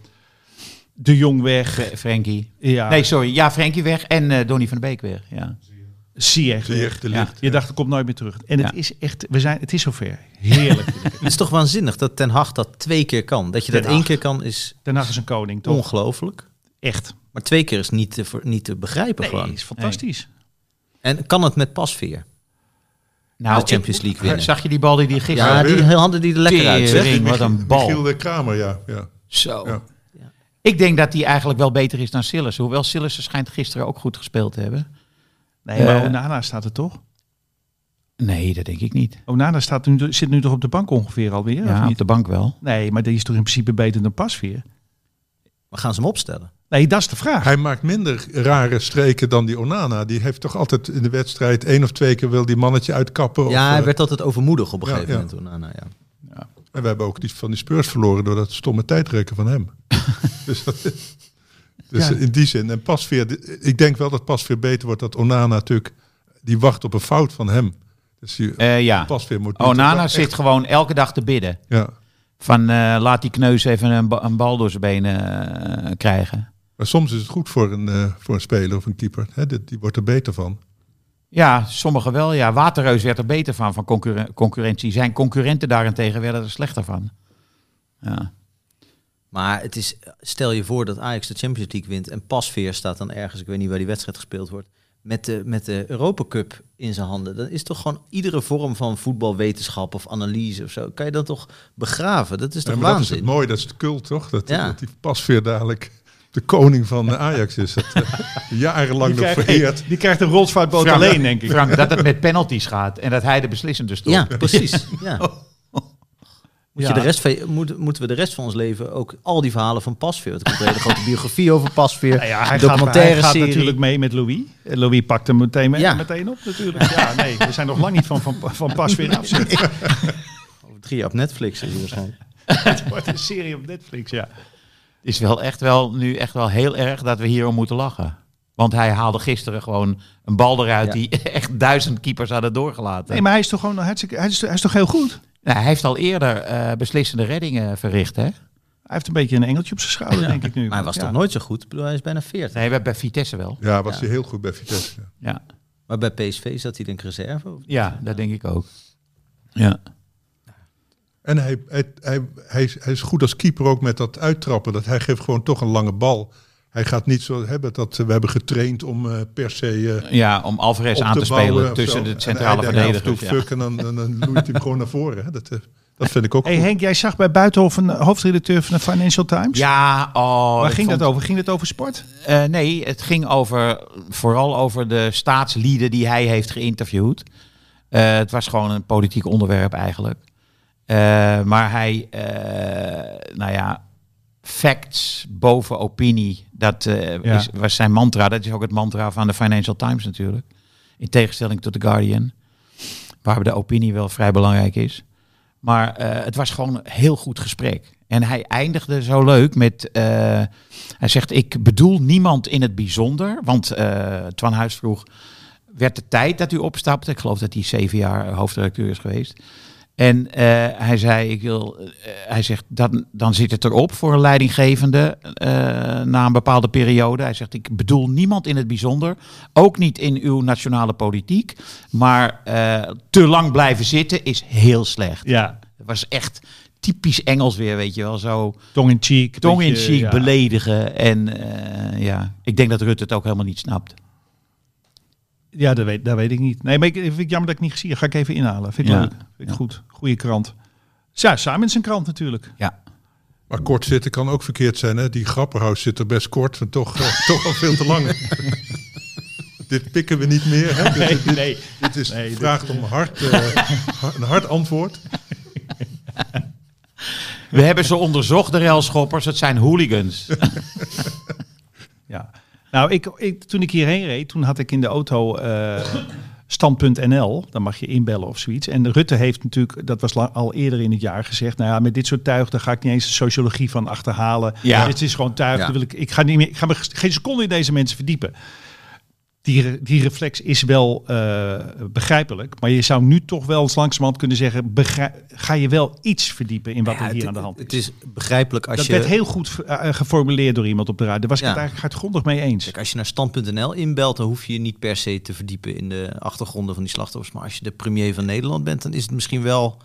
Speaker 4: de Jong weg.
Speaker 3: Fre- Frenkie.
Speaker 4: Ja,
Speaker 3: Nee, sorry. Ja, Frenkie weg en eh Donny van de Beek weer. Ja.
Speaker 4: Ziyech
Speaker 1: Zie je echt
Speaker 4: weg.
Speaker 1: de
Speaker 3: Ja.
Speaker 1: licht.
Speaker 4: Je dacht, er komt nooit meer terug. En het
Speaker 3: Ja.
Speaker 4: is echt, we zijn, het is zover. Heerlijk.
Speaker 5: Het is toch waanzinnig dat Ten Hag dat twee keer kan. Dat je dat
Speaker 4: Ten
Speaker 5: één
Speaker 4: Hag.
Speaker 5: keer kan is
Speaker 4: Daarna is een koning, toch?
Speaker 5: ongelooflijk.
Speaker 4: Echt.
Speaker 5: Maar twee keer is niet te, ver- niet te begrijpen
Speaker 4: Nee,
Speaker 5: gewoon.
Speaker 4: is fantastisch.
Speaker 5: En kan het met Pasveer?
Speaker 3: Nou,
Speaker 5: de Champions League
Speaker 3: ik-
Speaker 5: winnen.
Speaker 3: Zag je die bal die die gisteren...
Speaker 5: Ja, die handen die er lekker uit. zeg.
Speaker 3: Tering, wat een
Speaker 1: Michiel
Speaker 3: bal.
Speaker 1: de Kramer, ja. ja.
Speaker 3: Zo.
Speaker 1: Ja.
Speaker 5: Ja.
Speaker 3: Ik denk dat die eigenlijk wel beter is dan Sillissen. Hoewel Sillissen schijnt gisteren ook goed gespeeld te hebben.
Speaker 4: Nee, maar
Speaker 3: Eh,
Speaker 4: Onana staat er toch?
Speaker 3: Nee, dat denk ik niet.
Speaker 4: Onana staat nu, zit nu toch op de bank ongeveer alweer?
Speaker 3: Ja,
Speaker 4: of
Speaker 3: op
Speaker 4: niet?
Speaker 3: de bank wel.
Speaker 4: Nee, maar die is toch in principe beter dan Pasveer?
Speaker 5: Maar gaan ze hem opstellen?
Speaker 4: Nee, dat is de vraag.
Speaker 1: Hij maakt minder rare streken dan die Onana. Die heeft toch altijd in de wedstrijd één of twee keer wil die mannetje uitkappen.
Speaker 5: Ja,
Speaker 1: of,
Speaker 5: hij
Speaker 1: eh,
Speaker 5: werd altijd overmoedig op een
Speaker 1: ja,
Speaker 5: gegeven
Speaker 1: ja.
Speaker 5: moment. Onana, ja.
Speaker 1: En we hebben ook die van die Spurs verloren door dat stomme tijdrekken van hem. dus dat, dus
Speaker 4: Ja.
Speaker 1: in die zin. En Pasveer, ik denk wel dat Pasveer beter wordt. Dat Onana natuurlijk, die wacht op een fout van hem. Dus die,
Speaker 3: Eh, ja.
Speaker 1: Pasveer moet... niet-
Speaker 3: Onana
Speaker 1: echt-
Speaker 3: zit gewoon elke dag te bidden.
Speaker 1: Ja,
Speaker 3: Van eh, laat die kneus even een, ba- een bal door zijn benen eh, krijgen.
Speaker 1: maar soms is het goed voor een, eh, voor een speler of een keeper. Hè, dit- die wordt er beter van.
Speaker 3: Ja, sommigen wel. Ja, Waterreus werd er beter van, van concurren- concurrentie. Zijn concurrenten daarentegen werden er slechter van. Ja.
Speaker 5: Maar het is, stel je voor dat Ajax de Champions League wint en Pasveer staat dan ergens, ik weet niet waar die wedstrijd gespeeld wordt, met de, met de Europa Cup in zijn handen. Dan is toch gewoon iedere vorm van voetbalwetenschap of analyse of zo, kan je dat toch begraven? Dat is
Speaker 1: Ja,
Speaker 5: toch
Speaker 1: maar dat is het
Speaker 5: waanzin?
Speaker 1: mooi, dat is het cult, toch? Dat,
Speaker 5: Ja.
Speaker 1: dat die Pasveer dadelijk de koning van eh, Ajax is. Dat, eh, jarenlang nog vereerd.
Speaker 4: die krijgt een rotsvaartboot
Speaker 3: Frank,
Speaker 4: alleen, denk ik.
Speaker 3: Frank, dat het met penalties gaat en dat hij de beslissende stopt.
Speaker 5: Ja, precies. Ja. Moet
Speaker 4: Ja.
Speaker 5: Je de rest van, je- moet, moeten we de rest van ons leven ook al die verhalen van Pasveer? Want Er komt een hele grote biografie over Pasveer,
Speaker 4: Nou ja,
Speaker 5: een
Speaker 4: hij gaat,
Speaker 5: documentaire
Speaker 4: hij gaat
Speaker 5: serie.
Speaker 4: natuurlijk mee met Louis. Eh, Louis pakt hem meteen, mee-
Speaker 5: Ja.
Speaker 4: meteen op natuurlijk. Ja, nee, we zijn nog lang niet van, van, van pas weer af. Het
Speaker 5: Over drie jaar op Netflix is hij waarschijnlijk.
Speaker 4: wordt een serie op Netflix, ja.
Speaker 3: is wel echt wel nu echt wel heel erg dat we hierom moeten lachen. Want hij haalde gisteren gewoon een bal eruit
Speaker 5: Ja.
Speaker 3: die echt duizend keepers hadden doorgelaten.
Speaker 4: Nee, maar hij is toch gewoon hartstikke, hij is, hij is toch heel goed?
Speaker 3: Nou, hij heeft al eerder eh, beslissende reddingen verricht, hè?
Speaker 4: Hij heeft een beetje een engeltje op zijn schouder, denk ik nu.
Speaker 5: Maar hij was
Speaker 4: Ja.
Speaker 5: toch nooit zo goed? Ik bedoel, hij is bijna 40.
Speaker 3: Nee, bij, bij Vitesse wel.
Speaker 1: Ja, was
Speaker 5: Ja.
Speaker 1: hij heel goed bij Vitesse. ja.
Speaker 3: Ja,
Speaker 5: Maar bij PSV zat hij denk ik reserve? of-
Speaker 3: ja dat denk ik ook. Ja.
Speaker 1: En hij, hij, hij, hij, is, hij is goed als keeper ook met dat uittrappen. Dat hij geeft gewoon toch een lange bal. Hij gaat niet zo hebben dat eh, we hebben getraind om eh, per se eh,
Speaker 3: ja, om Alvarez
Speaker 1: op
Speaker 3: aan te
Speaker 1: bouwen
Speaker 3: spelen
Speaker 1: of
Speaker 3: tussen
Speaker 1: zo.
Speaker 3: de
Speaker 1: En
Speaker 3: centrale
Speaker 1: hij denkt af en toe,
Speaker 3: verdedigers. Ja.
Speaker 1: fuck, en dan, dan, dan loeit hij hem gewoon naar voren. Hè. Dat, eh, dat vind ik ook
Speaker 4: Hey
Speaker 1: goed.
Speaker 4: Henk, jij zag bij Buitenhof een eh, hoofdredacteur van de Financial Times.
Speaker 3: Ja, oh,
Speaker 4: Waar ging
Speaker 3: vond-
Speaker 4: dat over? Ging het over sport?
Speaker 3: Eh, nee, het ging over, vooral over de staatslieden die hij heeft geïnterviewd. Eh, het was gewoon een politiek onderwerp eigenlijk. Eh, maar hij, eh, nou ja, facts boven opinie, dat eh,
Speaker 4: Ja.
Speaker 3: is, was zijn mantra. Dat is ook het mantra van de Financial Times natuurlijk. In tegenstelling tot The Guardian, waar de opinie wel vrij belangrijk is. Maar eh, het was gewoon een heel goed gesprek. En hij eindigde zo leuk met... eh, hij zegt, ik bedoel niemand in het bijzonder. Want eh Twan Huis vroeg, werd de tijd dat u opstapte? Ik geloof dat hij zeven jaar hoofdredacteur is geweest. En eh, hij zei, ik wil, eh, hij zegt, dan, dan zit het erop voor een leidinggevende eh, na een bepaalde periode. Hij zegt, ik bedoel niemand in het bijzonder, ook niet in uw nationale politiek. Maar eh, te lang blijven zitten is heel slecht.
Speaker 4: Ja,
Speaker 3: Het was echt typisch Engels weer, weet je wel, zo
Speaker 4: tong in cheek.
Speaker 3: tong in
Speaker 4: beetje,
Speaker 3: cheek
Speaker 4: ja.
Speaker 3: beledigen. En eh, ja, ik denk dat Rutte het ook helemaal niet snapt.
Speaker 4: Ja, dat weet, dat weet ik niet. Nee, maar ik, vind ik jammer dat ik niet gezien heb. Ga ik even inhalen. Vind ik
Speaker 3: Ja.
Speaker 4: leuk. Vind ik
Speaker 3: Ja.
Speaker 4: goed. Goeie krant. Ja, samen in zijn krant natuurlijk.
Speaker 1: Maar kort zitten kan ook verkeerd zijn. Hè. Die grapperhaus zit er best kort, maar toch, eh, toch al veel te lang. dit pikken we niet meer. Hè. Dit, dit,
Speaker 4: nee.
Speaker 1: dit is
Speaker 4: Nee, dit-
Speaker 1: vraagt om hard, eh, ha- een hard antwoord.
Speaker 3: We hebben ze onderzocht, de railschoppers. Het zijn hooligans.
Speaker 4: Ja. Nou, ik, ik, toen ik hierheen reed, toen had ik in de auto eh, stand.nl. Dan mag je inbellen of zoiets. En Rutte heeft natuurlijk, dat was la- al eerder in het jaar gezegd. Nou ja, met dit soort tuig, daar ga ik niet eens de sociologie van achterhalen.
Speaker 3: Ja.
Speaker 4: Dit is gewoon tuig.
Speaker 5: Ja.
Speaker 4: daar Wil ik, ik, ga niet meer, ik ga me geen seconde in deze mensen verdiepen. Die, re- die reflex is wel eh, begrijpelijk. Maar je zou nu toch wel eens langzamerhand kunnen zeggen... begrij- ga je wel iets verdiepen in wat
Speaker 5: Ja,
Speaker 4: er hier
Speaker 5: het-
Speaker 4: aan de hand is.
Speaker 5: Het is begrijpelijk als
Speaker 4: dat
Speaker 5: je...
Speaker 4: werd heel goed eh, eh, geformuleerd door iemand op de radio. Daar was ik
Speaker 5: Ja.
Speaker 4: het eigenlijk hardgrondig mee eens.
Speaker 5: Kijk, als je naar stand.nl inbelt, dan hoef je je niet per se te verdiepen in de achtergronden van die slachtoffers. Maar als je de premier van Nederland bent, dan is het misschien wel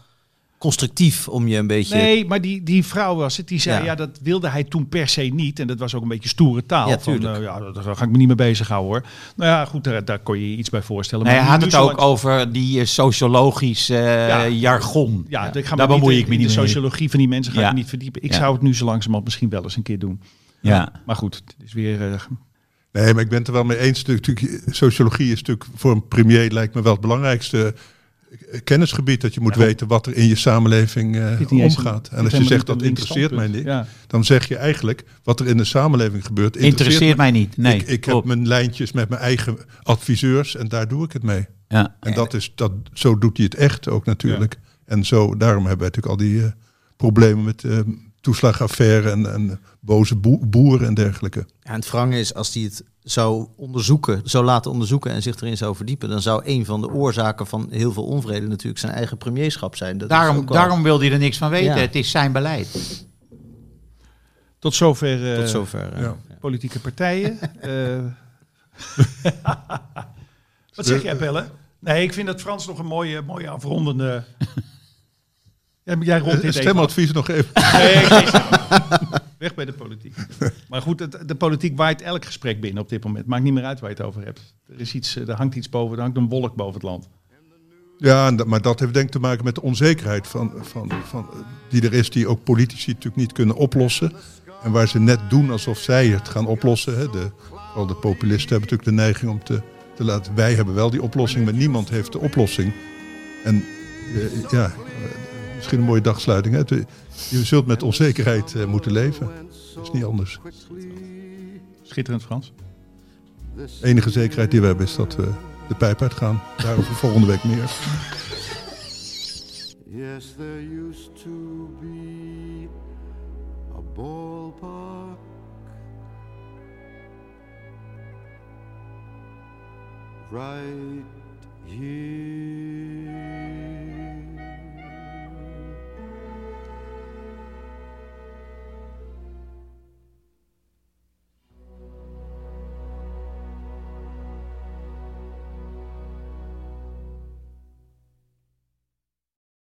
Speaker 5: constructief om je een beetje...
Speaker 4: Nee, maar die, die vrouw was het. Die zei, ja.
Speaker 5: Ja.
Speaker 4: dat wilde hij toen per se niet. En dat was ook een beetje stoere taal.
Speaker 5: Ja,
Speaker 4: van,
Speaker 5: tuurlijk.
Speaker 4: eh, ja, daar ga ik me niet mee bezighouden hoor. Nou ja, goed, daar, daar kon je je iets bij voorstellen.
Speaker 3: Nee, hij
Speaker 4: nu-
Speaker 3: had
Speaker 4: nu
Speaker 3: het
Speaker 4: zo
Speaker 3: ook
Speaker 4: lang-
Speaker 3: over die eh, sociologisch eh,
Speaker 4: Ja.
Speaker 3: jargon.
Speaker 4: Ja, ik ga me
Speaker 3: daar
Speaker 4: niet
Speaker 3: bemoei
Speaker 4: in-
Speaker 3: ik me
Speaker 4: in
Speaker 3: niet
Speaker 4: De
Speaker 3: mee.
Speaker 4: sociologie van die mensen ga
Speaker 3: Ja.
Speaker 4: ik me niet verdiepen. Ik
Speaker 3: Ja.
Speaker 4: zou het nu zo langzamerhand misschien wel eens een keer doen.
Speaker 3: Ja.
Speaker 4: Maar goed, het is weer... eh,
Speaker 1: Nee, maar ik ben het er wel mee eens. Natuurlijk, natuurlijk, sociologie is natuurlijk voor een premier lijkt me wel het belangrijkste eh, kennisgebied. Dat je moet weten wat er in je samenleving eh,
Speaker 4: dit niet eens een-
Speaker 1: omgaat.
Speaker 4: dit
Speaker 1: En als je
Speaker 4: helemaal
Speaker 1: zegt
Speaker 4: niet
Speaker 1: dat
Speaker 4: een links
Speaker 1: interesseert mij niet,
Speaker 4: standpunt. Ja.
Speaker 1: dan zeg je eigenlijk wat er in de samenleving gebeurt.
Speaker 3: Interesseert mij niet. Nee,
Speaker 1: ik ik heb
Speaker 3: klopt.
Speaker 1: mijn lijntjes met mijn eigen adviseurs en daar doe ik het mee.
Speaker 3: ja.
Speaker 1: En dat is, dat, zo doet hij het echt ook natuurlijk. En zo, daarom hebben we natuurlijk al die eh, problemen met eh, toeslagaffaire en, en boze boe- boeren en dergelijke.
Speaker 5: Ja, en het wrange is, als hij het zou onderzoeken, zou laten onderzoeken en zich erin zou verdiepen, dan zou een van de oorzaken van heel veel onvrede natuurlijk zijn eigen premierschap zijn. Dat is
Speaker 3: Daarom,
Speaker 5: ook al-
Speaker 3: daarom wil hij er niks van weten.
Speaker 5: Ja.
Speaker 3: Het is zijn beleid.
Speaker 4: tot zover... eh,
Speaker 5: Tot zover. eh,
Speaker 1: ja.
Speaker 4: politieke partijen. Eh, Wat zeg jij, Pelle? Nee, ik vind dat Frans nog een mooie, mooie afrondende... Jij, jij rondt dit even af.
Speaker 1: Eh, Stemadvies nog even.
Speaker 4: Nee, ik zeg zo. Weg bij de politiek. Maar goed, het, de politiek waait elk gesprek binnen op dit moment. Maakt niet meer uit waar je het over hebt. Er, is iets, eh, er hangt iets boven, er hangt een wolk boven het land.
Speaker 1: Ja, en dat- maar dat heeft denk ik te maken met de onzekerheid van, van, van, die er is, die ook politici natuurlijk niet kunnen oplossen. En waar ze net doen alsof zij het gaan oplossen. Hè. De, al de populisten hebben natuurlijk de neiging om te, te laten. Wij hebben wel die oplossing, maar niemand heeft de oplossing. En eh, ja, eh, misschien een mooie dagsluiting. Hè. Het- eh, Je zult met onzekerheid eh, moeten leven. Dat is niet anders.
Speaker 4: Schitterend, Frans.
Speaker 1: De enige zekerheid die we hebben is dat we de pijp uitgaan. Daarover volgende week meer.
Speaker 2: Yes, there used to be a ballpark right here.